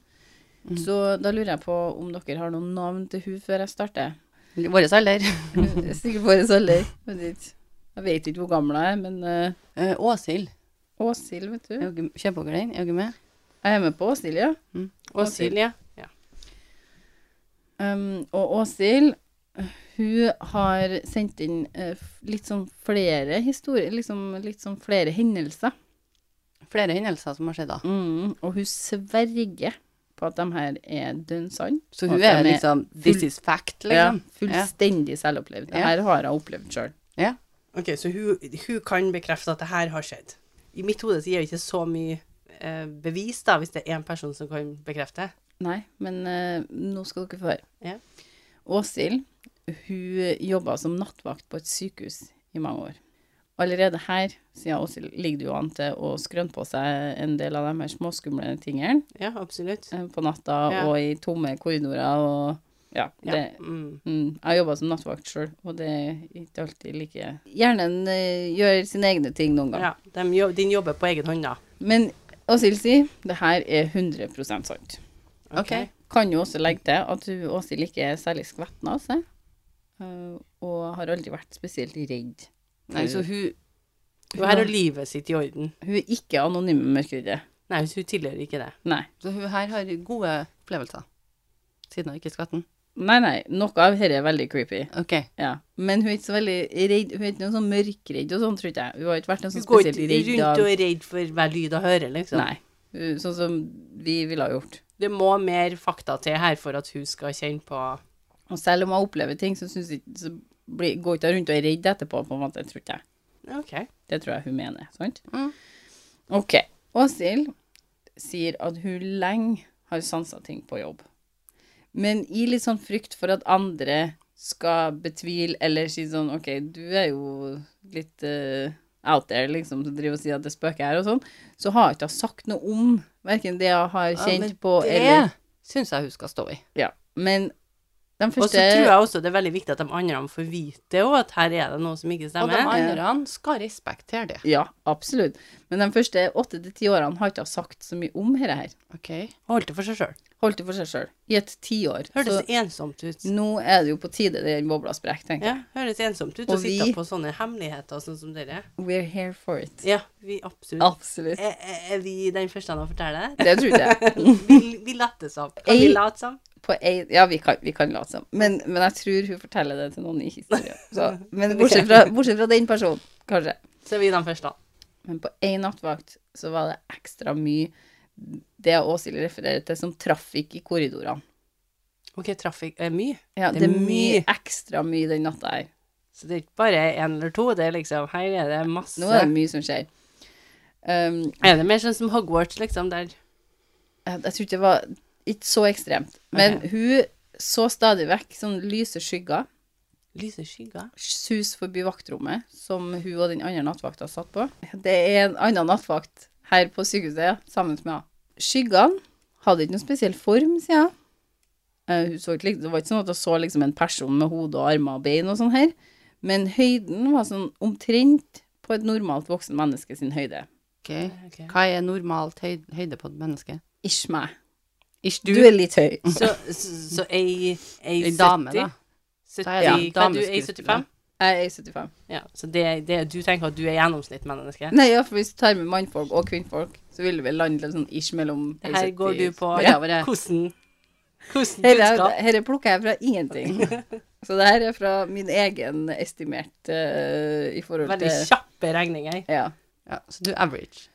A: Så da lurer jeg på om dere har noen navn til hun før jeg starter.
B: Vår alder.
A: Det er Sikkert vår alder. vet ikke. Jeg vet ikke hvor gammel jeg er, men eh,
B: Eh, Åshild.
A: Åshild, vet du.
B: Er dere- Kjenner dere den? Er dere med?
A: Jeg er med på Åshild, ja.
C: Og Silje. Ja.
A: Um, og Åshild, hun har sendt inn eh, f- litt sånn flere historier, liksom litt sånn flere hendelser.
B: Flere hendelser som har skjedd, da.
A: Mm, og hun sverger på at de her er dønn sann.
B: Så
A: og
B: hun
A: at de
B: er liksom This is fact, liksom.
A: Ja, fullstendig selvopplevd. Det
B: Ja.
A: her har jeg opplevd sjøl.
B: Ja.
C: Ok, så hun, hun kan bekrefte at det her har skjedd. I mitt hode så gir det ikke så mye eh, bevis, da, hvis det er én person som kan bekrefte.
A: Nei, men eh, nå skal dere få høre.
C: Ja.
A: Åshild, hun jobba som nattvakt på et sykehus i mange år. Allerede her, siden Åshild, ligger det jo an til å skrøne på seg en del av de her småskumle tingene
C: Ja, absolutt.
A: eh, på natta
C: Ja.
A: og i tomme korridorer og Ja.
C: Ja.
A: Det,
C: Mm.
A: mm, jeg jobba som nattvakt sjøl, og det er ikke alltid like Hjernen eh, gjør sine egne ting noen ganger.
C: ja de, jo- den jobber på egen hånd, da.
A: Men Åshild sier det her er 100 sant.
B: Ok.
A: Kan jo også legge til at hun Åshild ikke er særlig skvetten av seg, øh, og har aldri vært spesielt redd.
B: Nei, så hun
C: Hun her har livet sitt i orden.
A: Hun er ikke anonym mørkeridder.
C: Nei, hun tilhører ikke det.
A: Nei.
B: Så hun her har gode opplevelser. Siden hun ikke skvatt den.
A: Nei, nei, noe av dette er veldig creepy.
B: Ok.
A: Ja. Men hun er ikke så veldig redd. Hun er ikke noe sånn mørkredd og sånn, tror ikke jeg. Hun har ikke vært noe
C: Hun
A: sånn
C: går ikke
A: spesielt redd
C: rundt
A: av
C: og er redd for hver lyd hun hører, liksom.
A: Nei. Hun- Sånn som vi ville ha gjort.
C: Det må mer fakta til her for at hun skal kjenne på
A: Og selv om hun opplever ting, så, synes jeg, så blir, går hun ikke rundt og er redd etterpå, på en måte, tror ikke jeg.
C: OK.
A: Det tror jeg hun mener, sant?
B: Mm.
A: Ok. Åshild sier at hun lenge har sansa ting på jobb. Men i litt sånn frykt for at andre skal betvile eller si sånn OK, du er jo litt eh, out there, liksom, som driver og sier at det spøker her og sånn, så har hun ikke sagt noe om verken det hun har
B: Ja,
A: kjent
B: men
A: på
B: det
A: eller
B: syns jeg hun skal stå i.
A: Ja. Men de
C: Og så
A: første
C: tror jeg også det er veldig viktig at de andre får vite også at her er det noe som ikke
B: Og de
C: stemmer.
B: andre skal respektere det.
A: Ja, absolutt. Men de første åtte til ti årene har ikke hun sagt så mye om dette her.
B: Ok.
C: Holdt det for seg sjøl.
A: Holdt det for seg sjøl. I et tiår.
C: Hørtes
A: Så
C: ensomt ut.
A: nå er det jo på tide den bobla sprekker, tenker jeg.
C: Ja, høres ensomt ut
A: Og
C: å sitte
A: vi-
C: på sånne hemmeligheter sånn som dere.
A: We're here for it.
C: Ja, vi absolutt.
A: Absolutt.
C: Er, er- er vi den første han har fortalt det?
A: Det tror jeg.
C: Vi, vi later som. Kan vi
A: Ei-
C: late som?
A: På ei, ja, vi kan, vi kan late som. Men, men jeg tror hun forteller det til noen i historien. Så, men bortsett fra, bortsett fra den personen, kanskje.
C: Så er vi den første.
A: Men på én nattvakt så var det ekstra mye det Åshild refererer til som trafikk i korridorene.
C: OK, trafikk er mye.
A: Ja,
C: Det
A: det,
C: er
A: er mye
C: mye.
A: ekstra mye den natta her.
C: Så det er ikke bare én eller to. Det er liksom Her er det masse.
A: Nå er det mye som skjer. Um,
C: Er det mer sånn som Hogwarts, liksom, der
A: Eh, Jeg jeg tror ikke det var ikke så ekstremt. Men
C: Ok.
A: hun så stadig vekk sånn lyse skygger
C: lyse skygger?
A: sus forbi vaktrommet som hun og den andre nattvakta satt på. Det er en annen nattvakt her på sykehuset ja, sammen med henne. Skyggene hadde ikke noen spesiell form, sier jeg. Eh, hun så ikke, lik- det var ikke sånn at hun så liksom en person med hode og armer og bein og sånn her, men høyden var sånn omtrent på et normalt voksen menneske sin høyde.
B: Ok. Hva er normalt høy høyde på et menneske?
A: Ikke meg.
B: Ikke
A: Du er litt høy.
C: Så, så, så ei, ei
B: Ei dame, da.
C: 70,
B: Da er det en
C: Hva er du, ei
B: dameskuespiller.
C: 75?
A: Jeg er 75.
C: Ja, så det, det, du tenker at du er gjennomsnittsmenneske?
A: Nei, ja, for hvis du tar med mannfolk og kvinnfolk, så vil du vel lande litt sånn ish mellom
C: Det her går du
A: Ja,
C: på ja,
A: bare-
C: hvordan, hvordan
A: Herre,
C: budskap.
A: herre plukker jeg fra ingenting. Så det her er fra min egen estimert eh, i forhold
C: Veldig
A: til
C: kjappe regninger.
A: Ja.
B: Ja, så du er average.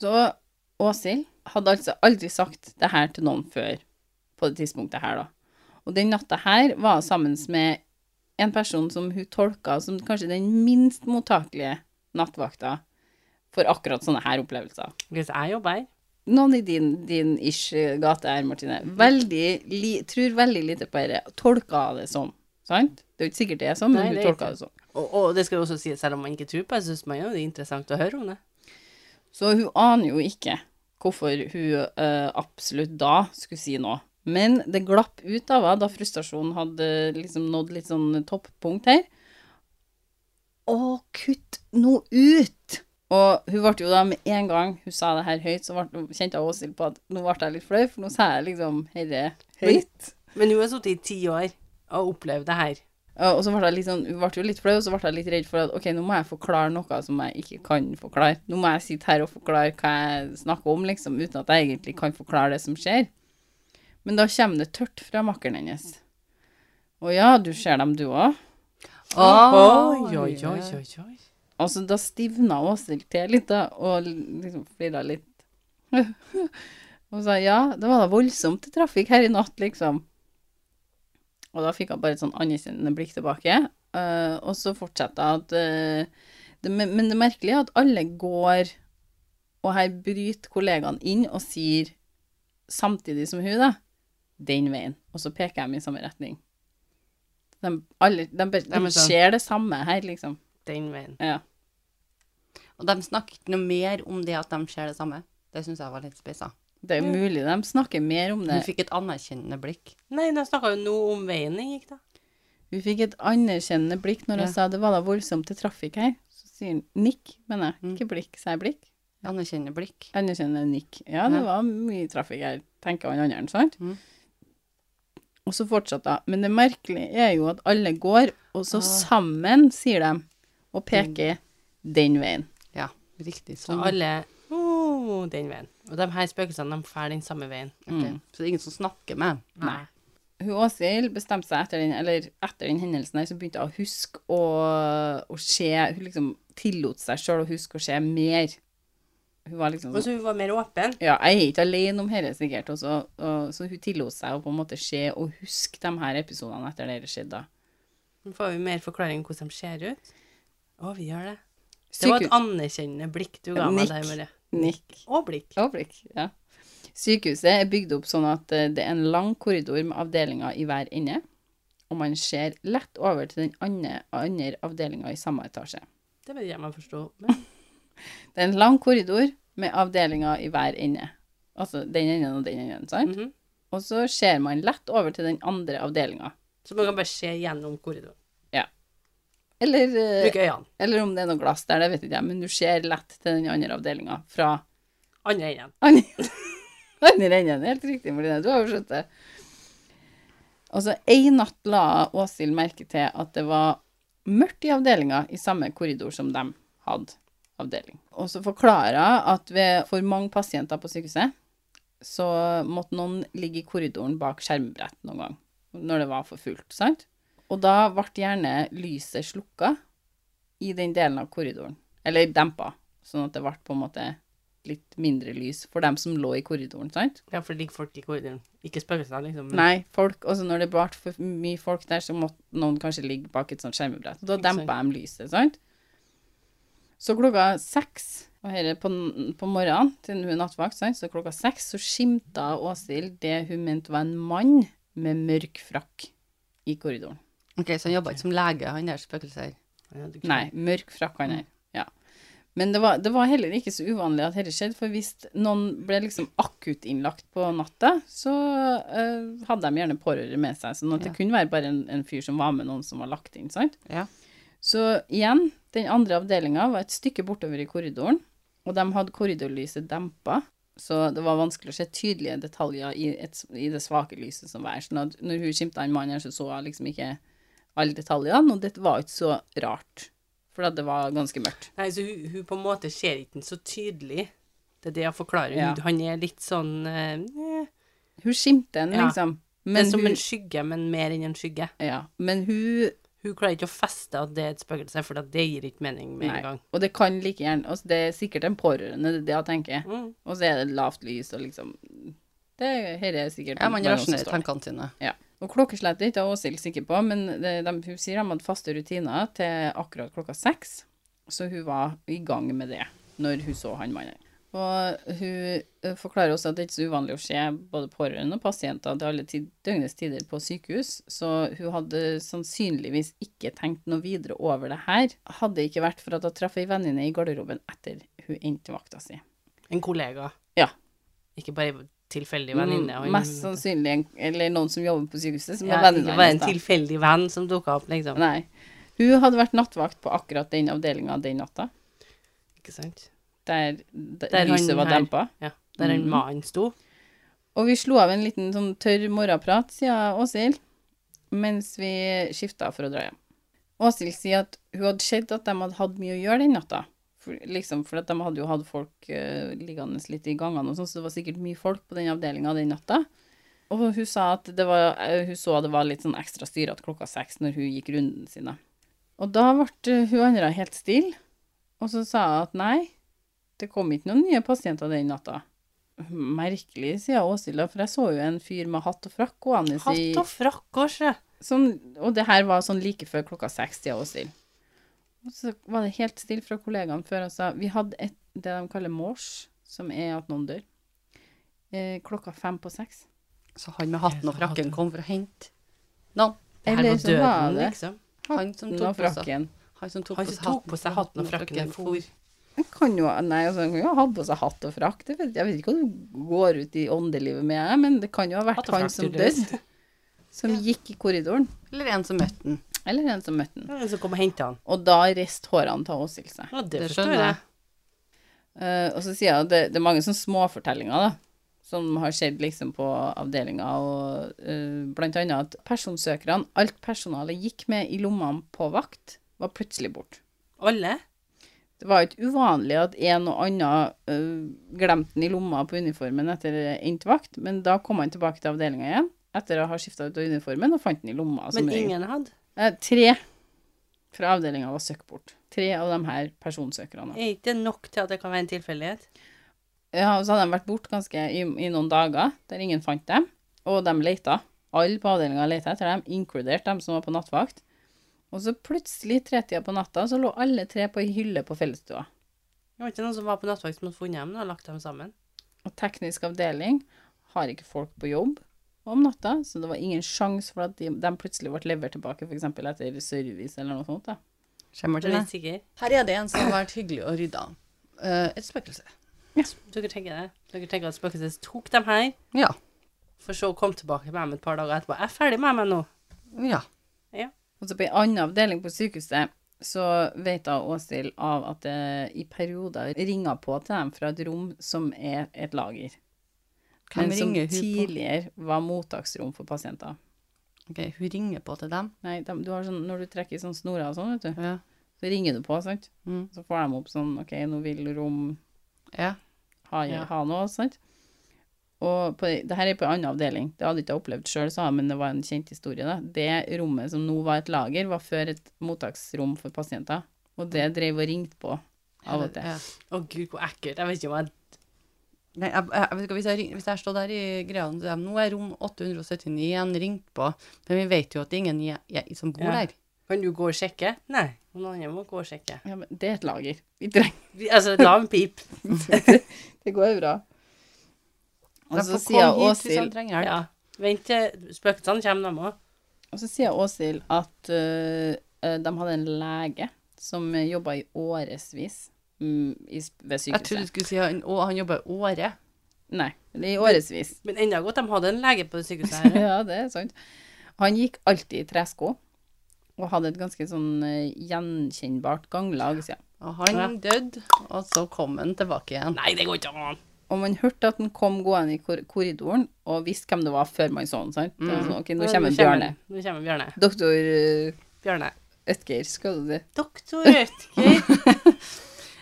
A: Så Åshild hadde altså aldri sagt det her til noen før på det tidspunktet her, da. Og den natta her var jeg sammen med en person som hun tolka som kanskje den minst mottakelige nattvakta for akkurat sånne her opplevelser.
C: Hvis jeg jobber her
A: Noen i din, din ish gate her, Martine, veldig li, tror veldig lite på dette. Tolka det sånn, sant? Det er jo ikke sikkert det er sånn, men
C: Nei,
A: hun
C: det er
A: tolka det sånn.
C: og, og det skal jo også sies, selv om man ikke tror på det, så syns man jo det er interessant å høre om det.
A: Så hun aner jo ikke hvorfor hun eh, absolutt da skulle si noe. Men det glapp ut av henne da frustrasjonen hadde liksom nådd litt sånn toppunkt her. Å, kutt nå ut! Og hun ble jo da med en gang hun sa det her høyt, så ble, kjente jeg Åshild på at nå ble jeg litt flau, for nå sa jeg liksom herre høyt.
C: Men hun har sittet i ti år og opplevd det her.
A: Og så ble jeg litt sånn, hun ble jo litt flau, og så ble jeg litt redd for at ok, nå må jeg forklare noe som jeg ikke kan forklare. Nå må jeg sitte her og forklare hva jeg snakker om, liksom, uten at jeg egentlig kan forklare det som skjer. Men da kommer det tørt fra makkeren hennes. Å ja, du ser dem du òg.
C: Oi, oi, oi, oi, oi.
A: Og så Altså, da stivna Åshild til litt, da, og liksom flira litt. og sa ja, det var da voldsomt trafikk her i natt, liksom. Og da fikk han bare et sånn anerkjennende blikk tilbake. eh, og så fortsatte jeg at eh, det, men, men det merkelige er at alle går Og her bryter kollegaene inn og sier, samtidig som hun, da, den veien. Og så peker jeg dem i samme retning. De, alle, de, bare-
C: Ja, men
A: de
C: sånn.
A: ser det samme her, liksom.
C: Den veien.
A: Ja.
B: Og de snakker ikke noe mer om det at de ser det samme. Det syns jeg var litt speisa.
A: Det er jo mulig de snakker mer om det.
B: Hun fikk et anerkjennende blikk.
C: Nei, nå snakka jo nå om veien den gikk, da.
A: Hun fikk et anerkjennende blikk når jeg
B: Ja.
A: sa det var da voldsomt til trafikk her. Så sier han nikk, mener jeg.
B: Mm.
A: Ikke blikk, sier jeg blikk.
B: Anerkjennende blikk.
A: Anerkjennende nikk. Ja, det
B: Ja.
A: var mye trafikk her, tenker han andre, sant?
B: Mm.
A: Og så fortsatte hun. Men det merkelige er jo at alle går, og så sammen, sier de, og peker den veien.
B: Ja, riktig.
C: Så
B: Sånn.
C: alle oh, den veien. Og de her spøkelsene, de drar den samme veien.
B: Ok. Så det er ingen som snakker med dem.
C: Mm. Nei.
A: hun Åshild bestemte seg etter den, eller etter den hendelsen her, så begynte hun å huske og, og se Hun liksom tillot seg sjøl å huske å se mer. Hun var liksom
C: Og
A: sånn
C: så hun var mer åpen.
A: Ja, jeg er ikke alene om dette, sikkert. Og så, og, så hun tillot seg å på en måte se og huske de her episodene etter det skjedde. da.
C: Nå får vi mer forklaring om hvordan de ser ut. Å, vi gjør det. Det var et
A: Sykehus-
C: anerkjennende blikk du ga meg
A: Nikk.
C: der, Marie.
A: Nikk.
C: Og blikk.
A: Overblikk, ja. Sykehuset er bygd opp sånn at eh, det er en lang korridor med avdelinger i hver ende, og man ser lett over til den andre, andre avdelinga i samme etasje.
C: Det var det jeg forsto. Men
A: Det er en lang korridor med avdelinger i hver ende. Altså den enden og den enden, sant?
C: Mhm.
A: Og så ser man lett over til den andre avdelinga.
C: Så man kan bare se gjennom korridoren.
A: Eller, eh,
C: Bruk øynene.
A: eller om det er noe glass der, det vet ikke jeg, men du ser lett til den andre avdelinga fra
C: Andre enden.
A: andre andre enden. Helt riktig, Marlene, du har jo skjønt det. Og så en natt la Åshild merke til at det var mørkt i avdelinga i samme korridor som de hadde avdeling. Og så forklarer hun at ved for mange pasienter på sykehuset, så måtte noen ligge i korridoren bak skjermbrett noen gang, når det var for fullt, sant? Og da ble gjerne lyset slukka i den delen av korridoren, eller dempa, sånn at det ble på en måte litt mindre lys for dem som lå i korridoren, sant?
C: Ja, for det ligger folk i korridoren. Ikke spøkelsene, liksom. men-
A: Nei, folk, også når det ble for mye folk der, så måtte noen kanskje ligge bak et sånt skjermebrett. Og da
C: Ikke sant.
A: dempa de lyset, sant? Så klokka seks, og her er på, n- på morgenen til hun er nattvakt, sant? så klokka seks så skimta Åshild det hun mente var en mann med mørk frakk i korridoren.
B: Ok, Så han jobba ikke som lege, han der spøkelset her.
C: Ja, du-
A: Nei, mørk frakk han her. Ja. Men det var, det var heller ikke så uvanlig at dette skjedde, for hvis noen ble liksom akutt innlagt på natta, så eh, hadde de gjerne pårørende med seg. Sånn at det kunne være bare en, en fyr som var med noen som var lagt inn, sant?
B: Ja.
A: Så igjen, den andre avdelinga var et stykke bortover i korridoren, og de hadde korridorlyset dempa, så det var vanskelig å se tydelige detaljer i, et, i det svake lyset som var. her. Sånn at når hun skimta en mann her, så så hun liksom ikke alle detaljene, og det var ikke så rart, for at det var ganske mørkt.
C: Nei, så hun, hun på en måte ser ikke den så tydelig. Det er det jeg forklarer.
A: Ja.
C: Hun, han er litt sånn eh, eh,
A: Hun skimter den,
C: Ja.
A: liksom.
C: Det er
A: Men
C: som
A: hun,
C: en skygge, men mer enn en skygge.
A: ja, men hun
C: Hun klarer ikke å feste at det er et spøkelse, for at det gir ikke mening med
A: Nei.
C: en gang.
A: Og det kan like gjerne altså, Det er sikkert en pårørende, det er det jeg tenker.
C: Mm.
A: Og så er det lavt lys og liksom det, Her er sikkert
B: Ja, man
A: mange som
B: rasjonerer
A: står.
B: tankene sine.
A: Ja. Og klokkeslett er ikke Åshild sikker på, men det, de, hun sier de hadde faste rutiner til akkurat klokka seks. Så hun var i gang med det når hun så han mannen. Og hun eh, forklarer også at det er ikke så uvanlig å se både pårørende og pasienter til alle tid, døgnets tider på sykehus, så hun hadde sannsynligvis ikke tenkt noe videre over det her, hadde det ikke vært for at hun traff ei venninne i garderoben etter hun endte vakta si.
C: En kollega.
A: Ja. Mm,
C: Ikke bare en tilfeldig venninne. og en-
A: Mest sannsynlig en, eller noen som jobber på sykehuset, som
C: Ja,
A: er
C: ikke
A: venninna
C: bare en
A: da.
C: tilfeldig venn som dukka opp, liksom.
A: Nei. Hun hadde vært nattvakt på akkurat den avdelinga den natta,
C: Ikke sant?
A: der, d-
C: Der han
A: lyset var
C: her-
A: dempa.
C: Ja. Der en
A: Mm.
C: mann sto.
A: Og vi slo av en liten sånn tørr morgenprat, sier Åshild, mens vi skifta for å dra hjem. Åshild sier at hun hadde sett at de hadde hatt mye å gjøre den natta. For, liksom, for at de hadde jo hatt folk eh, liggende litt i gangene og sånn, så det var sikkert mye folk på den avdelinga den natta. Og hun sa at det var, eh, hun så det var litt sånn ekstra styrete klokka seks når hun gikk runden sine. Og da ble eh, hun andre helt stille, og så sa hun at nei, det kom ikke noen nye pasienter den natta. Merkelig, sier Åshild, da, for jeg så jo en fyr med hatt og frakk gående i
C: Hatt og frakk og sjø.
A: sånn, og det her var sånn like før klokka seks tida Åshild. Og så var det helt stille fra kollegaene før og sa Vi hadde et, det de kaller mors, som er at noen dør. Eh, klokka fem på seks.
B: Så han med hatten og
C: Så
B: frakken
C: hatten.
B: kom for å hente noen.
C: Her var
A: Eller så var
C: døden,
A: det
C: liksom. altså.
B: Han som
A: hatten og
B: tok på seg,
A: frakken.
B: han som tok
C: Han
B: på
C: som
B: seg
C: tok på seg hatten og frakken og for.
A: Han kan jo Nei, altså, han kan jo ha hatt på seg hatt og frakk. Det vet, jeg vet ikke hva du går ut i åndelivet med, jeg, men det kan jo ha
C: Hatt
A: vært
C: og
A: han
C: frakk,
A: som
C: tydeligvis.
A: døde. Som gikk i korridoren.
B: Eller en som møtte den.
A: Eller en som møtte han.
C: Ja, Så kom og henta han.
A: Og da rist hårene til Åshild seg.
C: Ja, det,
B: Det
C: forstår
B: skjønner jeg.
C: jeg.
A: Eh, og så sier jeg at det, det er mange sånne småfortellinger da, som har skjedd liksom på avdelinga, og eh, blant annet at personsøkerne, alt personalet gikk med i lommene på vakt, var plutselig bort.
C: Alle?
A: Det var ikke uvanlig at en og annen eh, glemte den i lomma på uniformen etter endt vakt, men da kom han tilbake til avdelinga igjen, etter å ha skifta ut av uniformen, og fant den i lomma. som
C: Men
A: regel.
C: ingen hadde?
A: Eh, tre fra avdelinga var søkt bort. Tre av de her personsøkerne.
C: Er ikke det nok til at det kan være en tilfeldighet?
A: Ja, og så hadde de vært borte ganske i, i noen dager, der ingen fant dem. Og de leita. Alle på avdelinga leita etter dem, inkludert dem som var på nattvakt. Og så plutselig, tretida på natta, så lå alle tre på ei hylle på fellesstua.
C: Det var ikke noen som var på nattvakt som hadde funnet dem da, og lagt dem sammen?
A: Og teknisk avdeling har ikke folk på jobb om natta, så det var ingen sjanse for at de, de plutselig ble levert tilbake, f.eks. etter service eller noe sånt. da.
B: Skjemmer
C: Er
B: til
C: du
B: deg.
C: litt sikker?
B: Her er det en som har vært hyggelig og rydda. Eh, et spøkelse.
C: Dere tenker det? Dere tenker at spøkelset tok dem her,
B: Ja.
C: for så å komme tilbake med dem et par dager etterpå. Jeg er ferdig med meg nå.
B: Ja.
A: Og så på ei anna avdeling på sykehuset så vet jeg Åshild av at det i perioder ringer på til dem fra et rom som er et lager.
B: Hvem
A: men som
B: ringer hun på?
A: tidligere var mottaksrom for pasienter.
B: Ok, hun ringer på til dem.
A: Nei, dem- du har sånn, når du trekker i sånne snorer og sånn, vet du,
B: Ja.
A: så ringer du på, sant?
B: Mm.
A: Så får de opp sånn, ok, nå vil rom
B: ja.
A: ha,
B: Ja.
A: ha noe, sant? Og på, det her er på en annen avdeling. Det hadde jeg ikke opplevd selv, sa jeg, men det var en kjent historie da. Det rommet som nå var et lager, var før et mottaksrom for pasienter. Og det drev og ringte på av og til.
B: Ja.
C: Å gud, hvor ekkelt. Jeg vet ikke om jeg
B: Nei, jeg, jeg, jeg vet ikke, hvis jeg, ring- hvis jeg står der i greia og sier nå er rom 879 igjen ringt på, men vi vet jo at det er ingen je, je, som bor
C: Ja.
B: der.
C: Kan du gå og sjekke? Nei. Noen andre må gå og sjekke.
A: Ja, men det er et lager. Vi trenger,
C: Vi- Altså, la en pip.
A: det går jo bra. Og
B: De
A: så
B: får
A: sier
B: komme hit liksom. hvis
A: Åshild,
B: han trenger hjelp.
C: Ja. Vent til spøkelsene kommer, dem òg.
A: Og så sier Åshild at øh, øh, de hadde en lege som jobba i årevis mm, i, s- ved
B: Jeg trodde
A: sykehuset.
B: du skulle si han, å, han jobber i året.
A: Nei, i årevis.
C: Men enda godt de hadde en lege på det sykehuset her.
A: ja, det er sant. Han gikk alltid i tresko og hadde et ganske sånn øh, gjenkjennbart ganglag. sier han.
B: Og han
C: Ja.
B: døde, og så kom han tilbake igjen.
C: Nei, det går ikke an.
A: Og man hørte at han kom gående i kor korridoren og visste hvem det var før man så han. sant? Det var Sånn, ok, nå kommer Bjørne.
C: Nå kommer Bjørne.
A: Doktor øh,
C: Bjørne.
A: Ødgeir, skal du det?
C: Doktor Rødtger.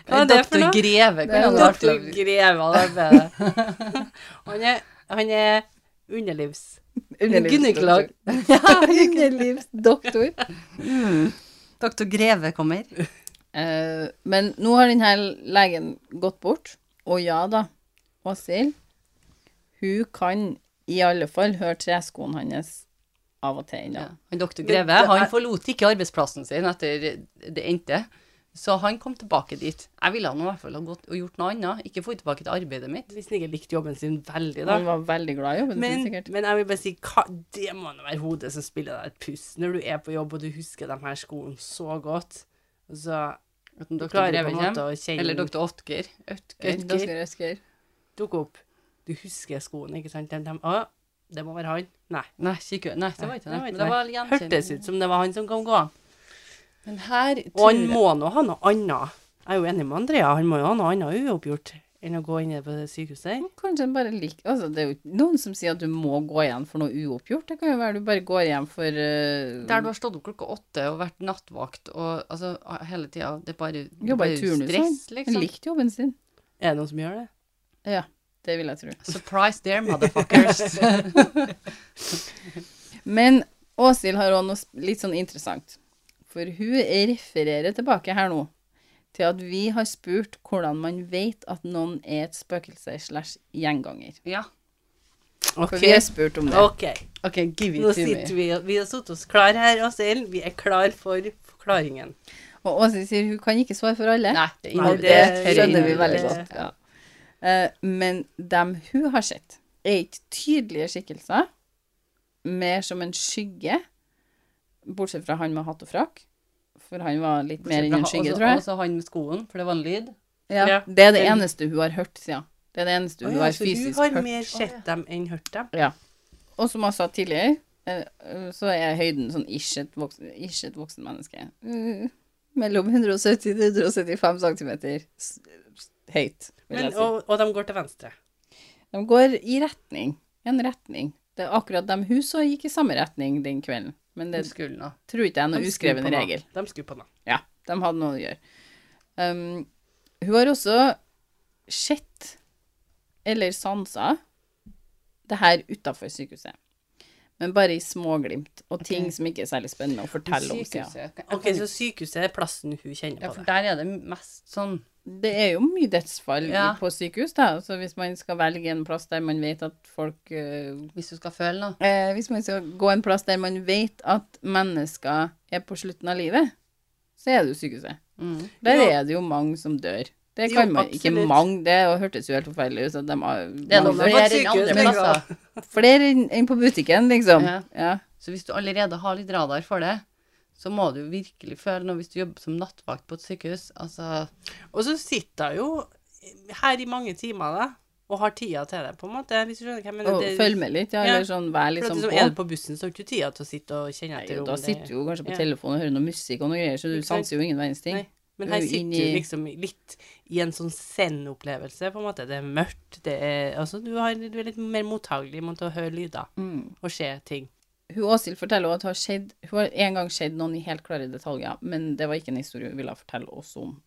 C: Hva er det for
B: Doktor
C: noe?
B: Greve.
A: Det er
B: kunne
A: jo
B: det vært.
C: Doktor Greve. Han er, han er underlivs... Gynekolog.
A: Underlivsdoktor.
D: Doktor Greve kommer.
A: Eh, men nå har denne legen gått bort, og ja da, Åshild, hun kan i alle fall høre treskoen hans av og til ennå.
B: Ja. Han doktor Greve han forlot ikke arbeidsplassen sin etter det endte, så han kom tilbake dit. Jeg ville nå i hvert fall ha gått og gjort noe annet, ikke få tilbake til arbeidet mitt.
C: Hvis han ikke likte jobben sin veldig, da.
A: Han var veldig glad i jobben
C: Men,
A: sin, sikkert.
C: men jeg vil bare si, hva, det må nå være hodet som spiller deg et puss. Når du er på jobb, og du husker de her skoene så godt, og så
B: At en
C: du
B: doktor
C: klarer på
B: Greve
C: en
B: kommer,
C: måte å kjenne
B: eller doktor Ottger. Ottger.
A: Øsker, øsker, øsker.
C: dukke opp. Du husker skoene, ikke sant? De, de, å, det må være han. Nei.
B: Nei, kikker. Nei, det var ikke det.
C: Nei,
B: Men
C: det
B: det
C: var
B: var gjenkjenning.
C: Hørtes ut som det var han som kom gående.
B: Men her
C: Og
B: tror
C: han
B: jeg
C: må nå ha noe annet. Jeg er jo enig med Andrea, han må jo ha noe annet uoppgjort enn å gå inn på det sykehuset her.
A: Kanskje han bare liker Altså, det er jo ikke noen som sier at du må gå igjen for noe uoppgjort. Det kan jo være du bare går igjen for eh,
B: der du har stått opp klokka åtte og vært nattvakt og altså hele tida Det er bare, det er
A: Jobba i
B: bare
A: turnus,
B: stress,
A: Han
B: liksom.
A: likte jobben sin.
C: Er det noen som gjør det?
A: Ja, det vil jeg tro.
B: Surprise there, motherfuckers.
A: Men Åshild har òg noe sp- litt sånn interessant. For hun refererer tilbake her nå til at vi har spurt hvordan man vet at noen er et spøkelse slash gjenganger.
B: ja.
A: For vi har spurt om det.
C: OK.
B: OK, give
C: Nå
B: it to me.
C: sitter vi og Vi har satt oss klar her, Åshild. Vi er klar for forklaringen.
A: Og Åshild sier hun kan ikke svare for alle.
B: Nei, det,
C: Nei,
B: er
A: det skjønner vi veldig
C: det-
A: godt. Ja. Eh, Men dem hun har sett, er ikke tydelige skikkelser, mer som en skygge, bortsett fra han med hatt og frakk. For han var litt mer enn en skygge, tror jeg.
B: Og så han med skoen, for det var en lyd.
A: Ja,
C: Ja.
A: Det er det
C: Den-
A: eneste hun har hørt, sier hun. Det er det eneste hun
C: Å ja,
A: har
C: så du
A: fysisk
C: har
A: hørt.
C: mer sett dem enn hørt dem?
A: Og som jeg sa tidligere, eh, eh, så er høyden sånn ish et voksen, ish et voksen menneske. Mm, Mellom 170 til 175 cm høyt, vil
C: Men,
A: jeg si.
C: og, og de går til venstre.
A: De går i retning. En retning. Det er akkurat de hun så gikk i samme retning den kvelden. Men det
B: Det skulle nå.
A: tror ikke jeg er noen
C: De skrur
A: uskreven
C: på noe.
A: regel.
C: De skrur på noe.
A: Ja, de hadde noe å gjøre. Um, hun har også sett, eller sansa, det her utafor sykehuset. Men bare i småglimt, og ting som ikke er særlig spennende å fortelle om. sier hun.
B: Sykehuset.
C: OK, så sykehuset er plassen hun kjenner
B: Ja,
C: på
B: for
C: det.
B: der er det mest sånn
A: Det er jo mye dødsfall i-
B: Ja.
A: på sykehus, da. Så hvis man skal velge en plass der man vet at folk øh,
B: Hvis du skal føle noe.
A: eh, Hvis man skal gå en plass der man vet at mennesker er på slutten av livet, så er det jo sykehuset.
B: Mm.
A: Der
C: Jo.
A: er det jo mange som dør. Det
C: Jo,
A: kan man ikke
C: absolutt.
A: mange, det hørtes jo helt forferdelig ut. at de har,
B: Det
A: mange
B: er
A: dør.
B: noe
C: på et
B: flere enn
C: sykehus,
B: andre
C: men-
B: plasser.
A: Flere enn enn på butikken, liksom.
B: Ja.
A: Ja.
B: Så hvis du allerede har litt radar for det, så må du virkelig føle noe hvis du jobber som nattvakt på et sykehus. Altså
C: Og så sitter hun jo her i mange timer da, og har tida til det, på en måte. Hvis du skjønner hva jeg mener.
A: Og
C: Det-
A: følg med litt, ja,
C: Ja.
A: eller sånn vær
C: for at
A: liksom
C: liksom,
A: på.
C: er du på bussen, så har du ikke tida til å sitte og kjenne
A: Nei,
C: etter om
A: da
C: det-
A: sitter du jo kanskje på
C: Ja.
A: telefonen og hører noe musikk og noe greier, så du
C: Ikke sant?
A: sanser jo ingen verdens ting.
C: Nei. Men her
A: jo
C: sitter
A: inn
C: du
A: i-
C: liksom litt i en sånn zen-opplevelse, på en måte. Det er mørkt, det er Altså, du, har, du er litt mer mottagelig mot å høre lyder
A: Mm.
C: og se ting.
A: Hun Åshild forteller også at hun har, skjedd, hun har en gang skjedd noen i helt klare detaljer, men det var ikke en historie hun ville fortelle oss om.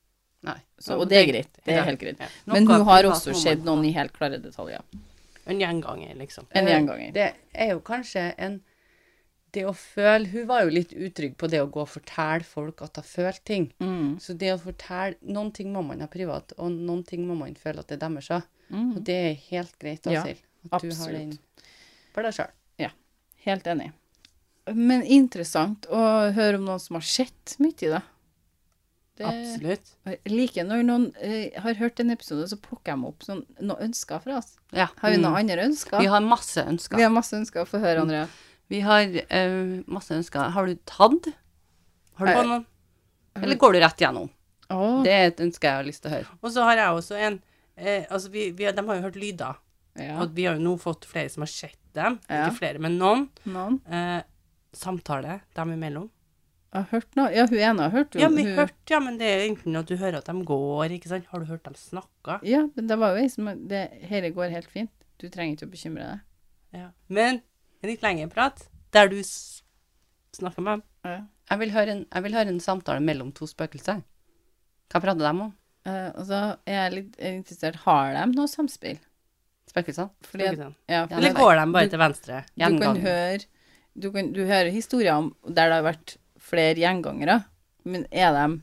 B: Nei.
A: Så, og det er greit. Det
C: Ja.
A: er helt greit.
C: Ja.
A: Men
B: Noe
A: hun har
B: privat
A: også
B: må man
A: skjedd
B: ha.
A: noen i helt klare detaljer.
C: En gjenganger, liksom.
A: En
B: Eh,
A: gjenganger.
B: Det er jo kanskje en Det å føle Hun var jo litt utrygg på det å gå og fortelle folk at hun følte ting.
A: Mm.
B: Så det å fortelle Noen ting må man ha privat, og noen ting må man føle at det er deres. også.
A: Mm.
B: Og det er helt greit,
A: Ja,
B: Asil. at du har den
A: Absolutt.
B: for deg sjøl.
A: Helt enig. Men interessant å høre om noen som har sett mye i det. det
C: Absolutt.
A: Jeg liker når noen eh, har hørt en episode, så plukker de opp sånn, noen ønsker fra oss.
B: Ja.
A: Har vi
C: Mm.
A: noen andre ønsker?
B: Vi har masse ønsker.
A: Vi har masse ønsker. Få høre, Andrea.
B: Vi har eh, masse ønsker. Har du tatt?
C: Har du
A: Eh,
C: på noen?
A: Mhm.
B: Eller går du rett gjennom?
C: Mm.
A: Åh.
B: Det er et ønske jeg har lyst til å høre.
C: Og så har jeg også en eh, Altså, vi, vi, har- de har jo hørt lyder.
A: ja.
C: Og vi har jo nå fått flere som har sett dem.
A: Ja.
C: Ikke flere, men noen.
A: Noen
C: Eh, samtale dem imellom.
A: har hørt noe? Ja, hun ene har hørt.
C: Ja, men
A: hun,
C: hørt, ja, men det er jo enten at du hører at de går, ikke sant. Har du hørt dem snakke?
A: Ja, men det var jo ei som det, Dette går helt fint. Du trenger ikke å bekymre deg.
C: Ja. Men en litt lengre prat, der du s- snakker med dem.
B: Jeg vil høre en, jeg vil høre en samtale mellom to spøkelser. Hva prater de om?
A: Eh, og så er jeg litt interessert Har de noe samspill?
B: Spøkelsene.
A: Fordi at,
C: Spøkelsene.
A: ja,
B: Ja,
A: fordi
C: Eller går de bare til venstre?
A: du kan
B: Gjenganger.
A: høre du, kan, du hører historier om der det har vært flere gjengangere, men er de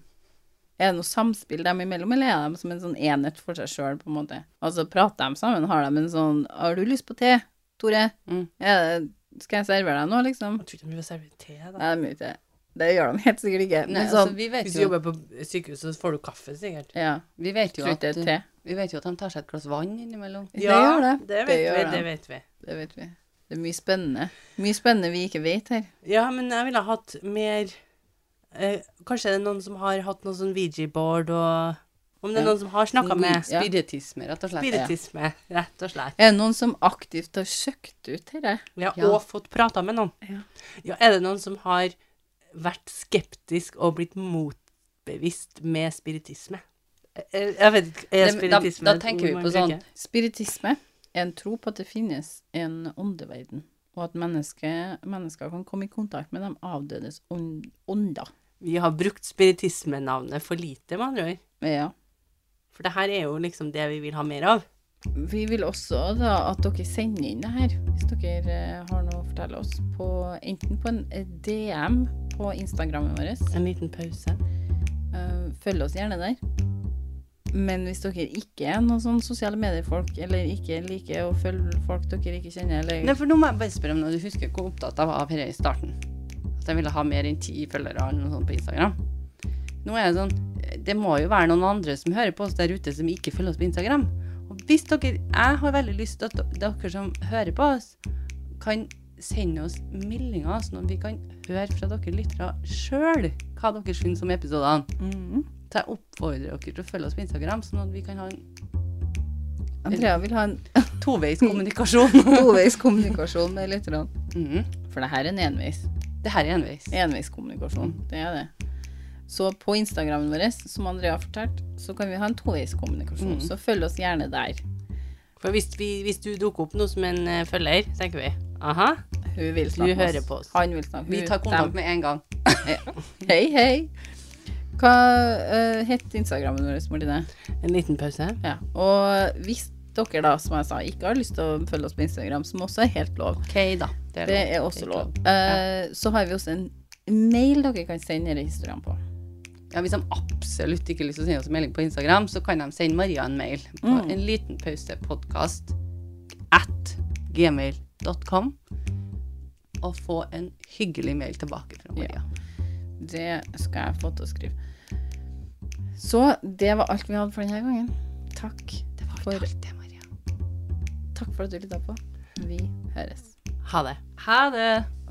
A: er det noe samspill dem imellom, eller er de som en sånn enhet for seg sjøl, på en måte? Altså, prater de sammen? Har de en sånn 'Har du lyst på te, Tore?
B: Mm.
A: Er det, skal jeg servere deg nå?' liksom.
C: Jeg tror ikke de vil servere te, da.
A: Nei, de gjør ikke det. Det gjør de helt sikkert ikke. Men
B: Nei,
A: sånn
B: altså, vi vet
C: Hvis du
B: jo,
C: jobber på sykehus, så får du kaffe, sikkert.
A: Ja.
B: vi vet jo
A: Tror
B: at
A: ikke det er te.
B: Vi vet jo at de tar seg et glass vann innimellom.
A: gjør det.
C: Det
A: Det
C: vet
A: gjør
C: vi.
A: det.
C: Det vet vi.
A: Det vet vi. Det er mye spennende. Mye spennende vi ikke vet her.
C: Ja, men jeg ville ha hatt mer eh, Kanskje det er noen som har hatt noe sånn VG-board og Om det er
A: Ja.
C: noen som har snakka med
A: Ja.
B: Spiritisme, rett og slett.
C: spiritisme, rett og slett.
A: Er det noen som aktivt har søkt ut dette?
C: Ja,
B: Ja.
C: Og fått prata med noen.
A: Ja.
C: Ja, er det noen som har vært skeptisk og blitt motbevist med spiritisme? Eh, Jeg vet ikke er
B: Det- da-
C: spiritisme
B: da
C: et
B: tenker
C: ord
B: vi
C: man
B: på sånn-
C: bruker?
A: Spiritisme er en tro på at det finnes en åndeverden, og at menneske, mennesker kan komme i kontakt med de avdødes ånd- ånder.
C: Vi har brukt spiritismenavnet for lite, med andre ord.
A: Ja.
C: For det her er jo liksom det vi vil ha mer av.
A: Vi vil også da at dere sender inn det her, hvis dere eh, har noe å fortelle oss, på, enten på en eh, DM på Instagrammen vår.
C: En liten pause.
A: Eh, Følg oss gjerne der. Men hvis dere ikke er noen sånn sosiale mediefolk, eller ikke liker å følge folk dere ikke kjenner, eller
B: Nei, for nå må jeg bare spørre om noe. Du husker hvor opptatt jeg var av dette i starten? At jeg ville ha mer enn ti følgere eller noe sånt på Instagram. Nå er det sånn Det må jo være noen andre som hører på oss der ute, som ikke følger oss på Instagram. Og hvis dere Jeg har veldig lyst til at dere som hører på oss, kan sende oss meldinger, sånn at vi kan høre fra dere lyttere sjøl hva dere syns om episodene.
A: Mhm.
B: Så jeg oppfordrer dere til å følge oss på Instagram, sånn at vi kan ha en
A: Andrea vil ha en
B: toveis kommunikasjon.
A: toveis kommunikasjon med lytterne.
B: Mhm.
A: For det her er en enveis.
B: Det her er enveis.
A: Enveiskommunikasjon. Det er det. Så på Instagrammen vår, som Andrea har fortalt, så kan vi ha en toveiskommunikasjon.
B: Mm.
A: Så følg oss gjerne der.
C: For hvis, vi, hvis du dukker opp nå som en eh, følger, tenker vi Aha,
A: Hun vil
C: du
A: snakke med
C: hører
A: oss.
C: på oss.
A: Han vil snakke
B: Vi
A: hun-
B: tar kontakt
A: dem.
B: med en gang.
A: Hei, hei. Hva uh, het Instagrammen vår, Martine?
C: En liten pause.
A: Ja. Og hvis dere da, som jeg sa, ikke har lyst til å følge oss på Instagram, som også er helt lov,
B: OK, da. Det
A: det er også lov, Eh, så har vi også en mail dere kan sende disse historiene på.
B: Ja, hvis de absolutt ikke har lyst til å sende oss en melding på Instagram, så kan de sende Maria en mail på
A: Mm.
B: en liten pause podcast at gmail.com og få en hyggelig mail tilbake fra Maria.
A: Det skal jeg få til å skrive. Så det var alt vi hadde for denne gangen. Takk.
B: Det var
A: For-
B: ikke alt det, Maria.
A: Takk for at du lytta på. Vi høres.
C: Ha det.
B: Ha det!